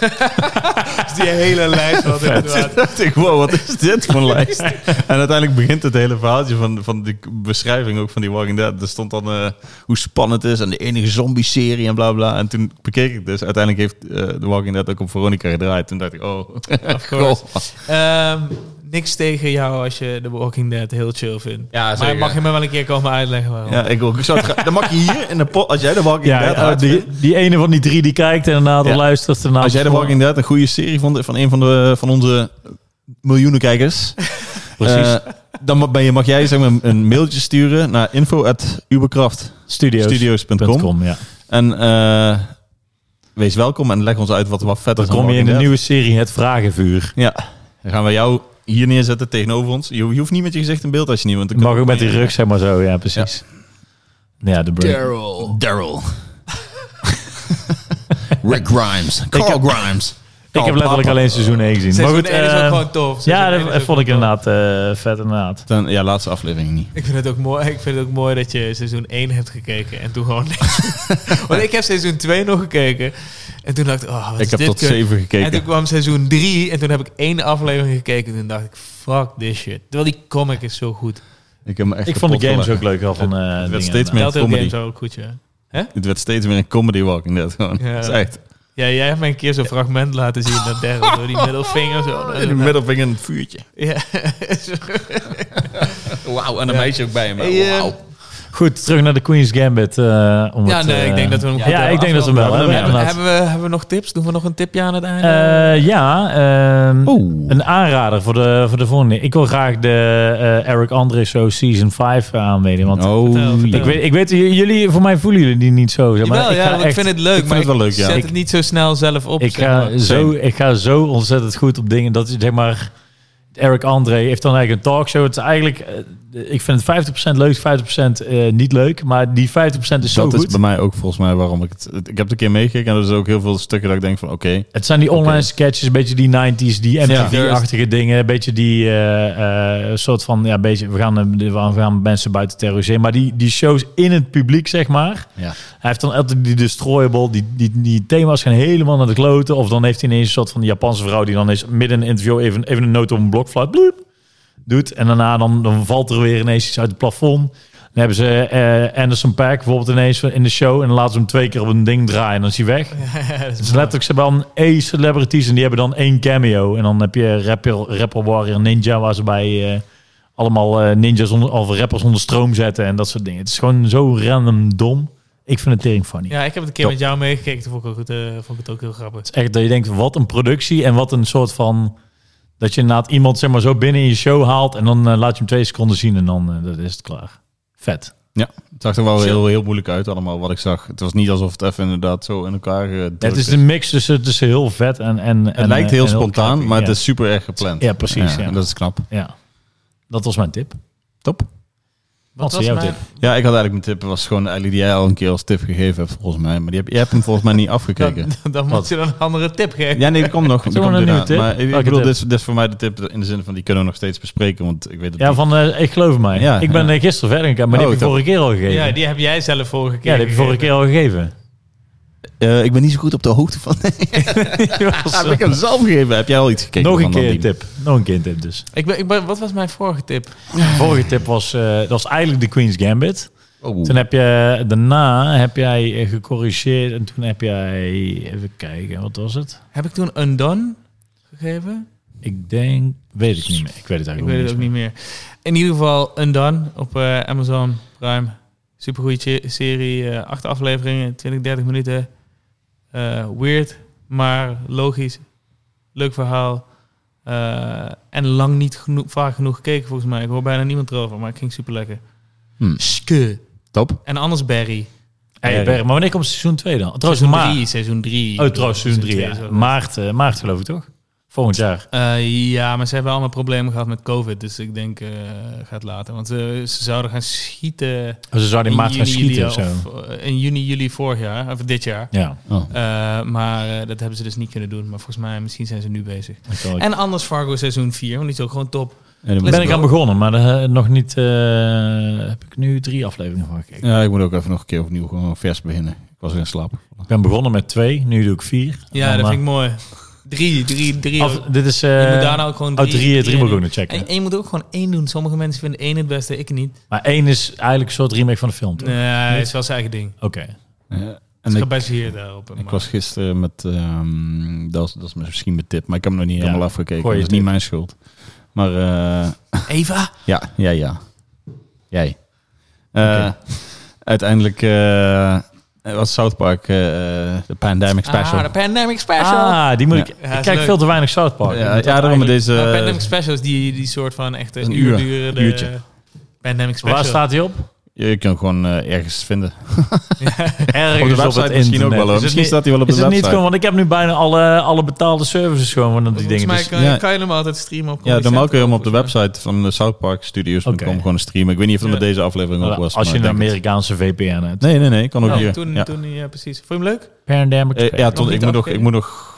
Dus die hele lijst had inderdaad.
dacht ik, wow, wat is dit voor een lijst? En uiteindelijk begint het hele verhaaltje van, van die beschrijving ook van die Walking Dead. Er stond dan eh, hoe spannend het is en de enige zombie-serie en bla bla. En toen bekeek ik dus. Uiteindelijk heeft eh The Walking Dead ook op Veronica gedraaid. Toen dacht ik, oh,
Of course. Ehm, niks tegen jou als je The Walking Dead heel chill vindt.
Ja,
maar
zeker.
mag je me wel een keer komen uitleggen waarom?
Ja, ik ook. Ik zou het gra- dan mag je hier in de pot, als jij The Walking
ja,
Dead...
ja,
hard vindt-
die, die ene van die drie die kijkt en daarna de
Ja.
luistert. Daarna
als jij The Walking Dead een goede serie vond van een van, de, van onze miljoenen kijkers...
Precies,
eh, dan mag- ben je, mag jij zeg maar, een mailtje sturen naar info.uberkraftstudios.com.
studios. Com, ja.
En eh, wees welkom en leg ons uit wat er wat vet
Dan
is.
kom je in
aan
de
Walking
nieuwe serie Het Vragenvuur.
Dead. Ja, dan gaan we jou hier neerzetten tegenover ons. Je, je hoeft niet met je gezicht in beeld als je niet... Want dan
Mag
kan-
ook met die rug, zeg maar zo. Ja, precies. Ja, de break.
Daryl. Daryl. Rick Grimes. Carl Grimes.
Ik heb letterlijk alleen seizoen 1 gezien. Maar
Seizoen
goed,
één is ook
eh,
gewoon tof.
ja,
Seizoen één
dat
is ook
dat vond ik
gewoon tof.
inderdaad eh, vet inderdaad.
Dan, ja, laatste aflevering niet.
Ik vind, het ook mooi, ik vind het ook mooi dat je seizoen 1 hebt gekeken en toen gewoon niks. Want ik heb seizoen 2 nog gekeken en toen dacht ik, oh, wat is
ik heb
dit
tot
kut?
zeven gekeken.
En toen kwam seizoen 3 en toen heb ik één aflevering gekeken en toen dacht ik, fuck this shit. Terwijl die comic is zo goed.
ik, heb me echt
Ik vond de
kapot
games ook
gelachen.
leuk al van. eh,
werd
dingen
steeds
inderdaad.
meer-
Telltale
comedy.
Games waren ook goed, ja.
Het werd steeds meer een comedy Walking Dead. Gewoon.
Ja.
Dat is echt.
Ja, jij hebt mij een keer zo'n fragment laten zien dat Daryl door die middelvinger zo.
In de middelvinger en het vuurtje.
Ja.
Wauw, en een meisje ook bij hem.
Hey, eh,
Goed, terug naar de Queen's Gambit. eh, om
ja,
het,
nee,
eh,
ik denk dat we hem
ja,
goed
ja,
hebben
ik denk dat we hem wel
afgerond.
hebben,
Hebben,
inderdaad.
hebben, we, hebben we nog tips? Doen we nog een tipje aan het einde?
eh, ja, ehm,
Oeh.
een aanrader voor de, voor de volgende. Ik wil graag de eh, Eric Andre Show Season 5 aanweden. Want
Oh,
vertel, vertel.
ik weet, ik weet j- jullie, voor mij voelen jullie die niet zo. Zeg maar.
Jawel,
ik
ja,
ga
want ik
echt-
vind het leuk,
vind
maar
het wel leuk,
ik
ja.
zet
Ik-
het niet zo snel zelf op.
Ik
zeg
ga,
maar.
zo, ik ga zo ontzettend goed op dingen. Dat is, zeg maar, Eric André heeft dan eigenlijk een talkshow. Het is eigenlijk, eh, ik vind het 50% leuk, 50% eh, niet leuk. Maar die 50% is zo
dat
goed.
is bij mij ook volgens mij waarom ik het... het- Ik heb het een keer meegekeken en er zijn ook heel veel stukken dat ik denk van oké.
Het zijn die online
Oké.
sketches, een beetje die 90s, die MTV-achtige dingen. Een beetje die eh, eh, soort van, ja, een beetje, we gaan, eh, we gaan mensen buiten terroriseren. Maar die, die shows in het publiek, zeg maar.
Ja.
Hij heeft dan altijd die destroyable, die, die, die thema's gaan helemaal naar de kloten. Of dan heeft hij ineens een soort van die Japanse vrouw die dan eens midden in een interview even, even een noot op een blokfluit bloep, doet. En daarna dan, dan valt er weer ineens iets uit het plafond. Dan hebben ze eh, Anderson Paak bijvoorbeeld ineens in de show. En dan laten ze hem twee keer op een ding draaien en dan is hij weg.
Ja, dat
Het
is
is letterlijk, ze hebben dan één celebrities en die hebben dan één cameo. En dan heb je rapper, rapper Warrior Ninja, waar ze bij eh, allemaal eh, ninjas onder, of rappers onder stroom zetten en dat soort dingen. Het is gewoon zo random dom. Ik vind het tering funny.
Ja, ik heb het een keer
Top.
met jou meegekeken. Toen vond ik, ook, goed, eh, vond ik het ook heel grappig.
Het is echt dat je denkt, wat een productie en wat een soort van... Dat je inderdaad iemand zeg maar, zo binnen in je show haalt en dan eh, laat je hem twee seconden zien en dan eh, dat is het klaar. Vet.
Ja, het zag er wel heel, heel moeilijk uit allemaal wat ik zag. Het was niet alsof het even inderdaad zo in elkaar gedrukt
het is
is.
een mix tussen, tussen heel vet en... en
Het lijkt heel spontaan, maar
ja.
het is super erg gepland.
Ja, precies, ja.
en Dat is knap.
Ja. Dat was mijn tip.
Top.
Wat
was
is jouw
mijn-
tip?
Ja, ik had eigenlijk mijn tip. was gewoon eigenlijk die jij al een keer als tip gegeven hebt, volgens mij. Maar die heb, jij hebt hem volgens mij niet
Dan,
afgekeken.
dan- dan moet je dan een andere tip geven.
Ja, nee, dat komt nog. Dat
Zullen we
komt
een nieuwe
eraan.
tip?
Maar ik- ik,
Welke
bedoel,
tip?
dit is, dit is voor mij de tip in de zin van, die kunnen we nog steeds bespreken. Want ik weet het
Ja,
niet.
van eh, ik geloof in mij.
Ja,
ik ben
ja.
eh, gisteren verder gegaan, maar die
Oh,
heb je
top.
vorige keer al gegeven.
Ja,
Ja, die,
die heb jij zelf vorige keer.
heb je vorige keer al gegeven.
eh, ik ben niet zo goed op de hoogte van. heb ik hem zelf gegeven? Heb jij al iets gekeken?
eh, Nog een
van dat
keer een
team?
tip. Nog een keer een tip dus.
Ik ben, ik ben, wat was mijn vorige tip?
Vorige tip was, eh, dat was eigenlijk de Queen's Gambit.
Oh.
Toen heb je, daarna heb jij eh, gecorrigeerd en toen heb jij, even kijken, wat was het?
Heb ik toen Undone gegeven?
Ik denk, weet ik niet meer. Ik weet het eigenlijk
Ik weet het ook niet meer. In ieder geval Undone op eh, Amazon Prime. Supergoeie che- serie, eh, acht afleveringen, 20, 30 minuten. Eh, weird, maar logisch. Leuk verhaal. Eh, en lang niet genoeg, vaak genoeg gekeken volgens mij. Ik hoor bijna niemand erover, maar het ging super lekker.
Hm.
Hmm.
Ske.
Top.
En anders Barry.
Hey,
Ja, ja.
Berg, maar wanneer komt seizoen 2 dan? Trouwens,
Seizoen
ma
3, seizoen 3.
oh, trouwens seizoen 3, ja. Maart, eh, maart geloof ik toch? Volgend jaar.
Eh, ja, maar ze hebben allemaal problemen gehad met COVID. Dus ik denk, eh, gaat later. Want eh, ze zouden gaan schieten.
Oh, Ze zouden in maart gaan
juli
schieten of zo.
of, eh, in juni, juli vorig jaar. eh, Of dit jaar.
Ja.
Oh.
Eh, maar eh, dat hebben ze dus niet kunnen doen. Maar volgens mij, misschien zijn ze nu bezig.
ik wel-
En anders Fargo seizoen 4. Want die is ook gewoon top.
En dan
Daar
moet
ben ik aan begonnen, maar eh, nog niet. eh, heb ik nu drie afleveringen van gekeken.
Ja, ik moet ook even nog een keer opnieuw gewoon vers beginnen. Ik was weer in slaap.
Ik ben begonnen met twee, nu doe ik vier.
Ja,
En
dat
dan,
vind ik mooi. Drie, drie, drie.
eh,
ook.
af- dit is. eh
je moet daarna ook gewoon
oh,
drie.
drie, drie moet ik ook nog
en,
checken.
en je moet ook gewoon één doen. Sommige mensen vinden één het beste, ik niet.
Maar één is eigenlijk een soort remake van de film. toch?
Nee, het is wel zijn eigen ding.
Oké.
Ja.
Het
En
is
ik,
gebaseerd daarop.
ik
maar-
was gisteren met... ehm, dat, is, dat is misschien mijn tip, maar ik heb hem nog niet helemaal afgekeken.
gooi
Dat
je
is niet
tip.
mijn schuld. Maar eh,
Eva?
ja, ja, ja. Jij. Eh, Uiteindelijk eh, was South Park eh, de Pandemic Special.
Ah, de Pandemic Special.
Ah, die moet
Ja.
ik.
Ja,
ik
is
kijk
leuk.
veel te weinig South Park. Ik
ja, ja,
moet dat
daarom
eigenlijk-
deze...
Maar Pandemic Special is die, die soort van echt een
Een
uur
uur,
durende...
uurtje.
Pandemic Special.
Waar staat die op?
je, je kunt hem gewoon eh, ergens vinden.
Ergens
Op de website
het
misschien
internet.
ook wel, hoor.
Is het
Misschien
niet-
staat hij wel op
is
de
het niet
website.
gewoon, want ik heb nu bijna alle, alle betaalde services gewoon van die
Volgens
dingen.
mij
Dus,
kan,
ja.
kan je hem altijd streamen op
Ja,
Comedy
normaal kun je hem op de
Central, volgens
website van de South Park Studios.com
Oké.
gewoon streamen. Ik weet niet of dat
Ja.
met deze aflevering ook
als
was.
je
maar
een
ik denk het.
Amerikaanse VPN hebt.
Nee, nee, nee. Kan ook
mij.
hier.
Oh, toen,
ja.
toen, ja, precies. Vond je hem leuk?
Pandemic.
Eh, ja, tot,
niet
ik, moet nog,
afgekeken?
ik moet nog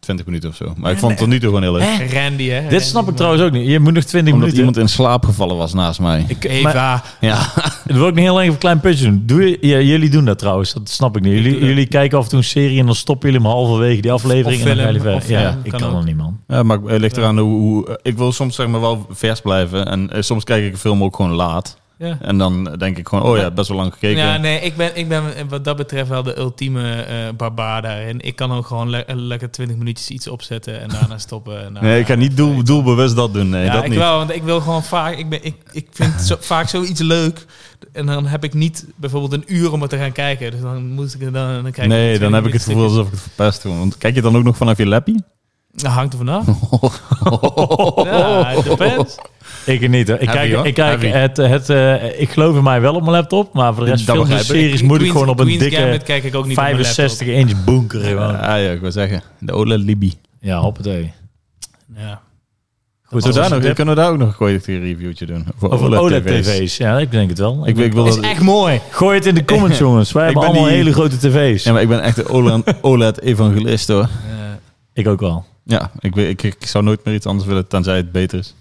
20 minuten of zo. Maar ik vond het tot nu toe gewoon heel leuk.
Randy, hè?
Dit snap ik trouwens ook niet. Je moet nog 20
Omdat
minuten.
iemand in slaap gevallen was naast mij.
Ik,
Eva.
maar,
Ja,
het wil ik niet heel even een klein putje doen. Doe je, ja, jullie doen dat trouwens, dat snap ik niet. Jullie,
doe dat.
jullie kijken af en toe een serie en dan stoppen jullie hem halverwege die aflevering.
Of
en dan gaan
film,
jullie
of
verder. Ja,
film,
ik
kan
kan
ook.
al niet, man.
ja maar het ligt eraan hoe, hoe- eh, Ik wil soms zeg maar wel vers blijven. En eh, soms kijk ik een film ook gewoon laat.
Ja.
En dan denk ik gewoon, oh ja, best wel lang gekeken.
Ja, nee, ik ben, ik ben wat dat betreft wel de ultieme eh barbaar daarin. Ik kan ook gewoon le- lekker 20 minuutjes iets opzetten en daarna stoppen. En daarna-
Nee, ik ga niet doel, doelbewust dat doen. Nee,
ja,
dat
ik
niet.
wel, want ik wil gewoon vaak. Ik, ben, ik, ik vind zo, vaak zoiets leuk. En dan heb ik niet bijvoorbeeld een uur om het te gaan kijken. Dus dan moet ik er dan, dan kijk
nee,
ik
dan heb ik het gevoel alsof ik het verpest doe. Want kijk je dan ook nog vanaf je lappie?
Dat Nou, hangt er vanaf. Ja, it depends.
Ik niet, hoor. Ik
Heavy,
kijk,
hoor.
ik, kijk
Heavy.
het, het, eh, ik geloof in mij wel op mijn laptop, maar voor de rest
Dat
films en
begrijp ik.
series moet ik gewoon op een
Queen's Gambit
dikke
kijk ik ook niet op mijn laptop.
65 inch bunker. gewoon.
Ah ja, ik wil zeggen. De Ola Libi.
Ja, hoppatee.
Ja.
Goed,
Zo daar
dat was
nog,
een tip.
kunnen we daar ook nog een keer een reviewtje doen? Over,
Over
OLED TV's.
OLED-tv's. Ja, ik denk het wel.
Ik, wil- ik wil dat,
Is echt mooi. Gooi het in de comments, jongens. Wij hebben
ben
allemaal
die-
hele grote tv's.
ja, maar ik ben echt een OLED-evangelist hoor.
Ja.
Ik ook wel.
Ja, ik, weet- ik, ik zou nooit meer iets anders willen, tenzij het beter is.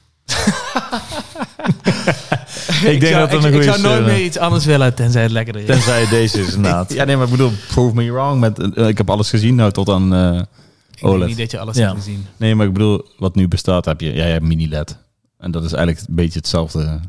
Ik, denk
zou,
dat dat
ik,
een
ik
goede
zou nooit
is, eh,
meer iets anders willen, tenzij het lekkerder is.
Tenzij deze is inderdaad.
Ja, nee, maar ik bedoel, prove me wrong. Met, eh, ik heb alles gezien nou tot aan eh,
Ik denk
OLED.
niet dat je alles
Ja.
hebt gezien.
Nee, maar ik bedoel, wat nu bestaat, heb je, ja, je hebt mini-LED. En dat is eigenlijk een beetje hetzelfde.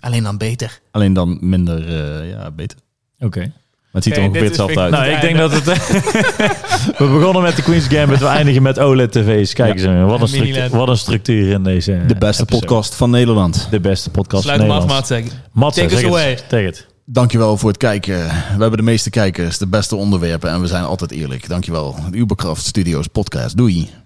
Alleen dan beter.
Alleen dan minder, eh, ja, beter.
Oké.
Maar het ziet er
Oké,
ongeveer
dit is
hetzelfde uit.
vind
Nou, ik
het
denk dat
einde.
het... we begonnen met de Queen's Gambit, we eindigen met E OLED-tv's. Kijk eens, jongen, wat, een
Mini-LED.
structuur- wat een structuur in deze
de beste
episode.
podcast van Nederland.
De beste podcast
Sluit
van
hem af,
Nederland.
Maat. zeg.
Mats,
Take
zeg
us
het.
away.
Zeg het.
Dankjewel voor het kijken. We hebben de meeste kijkers, de beste onderwerpen en we zijn altijd eerlijk. Dankjewel. Uberkraft Studios Podcast. Doei.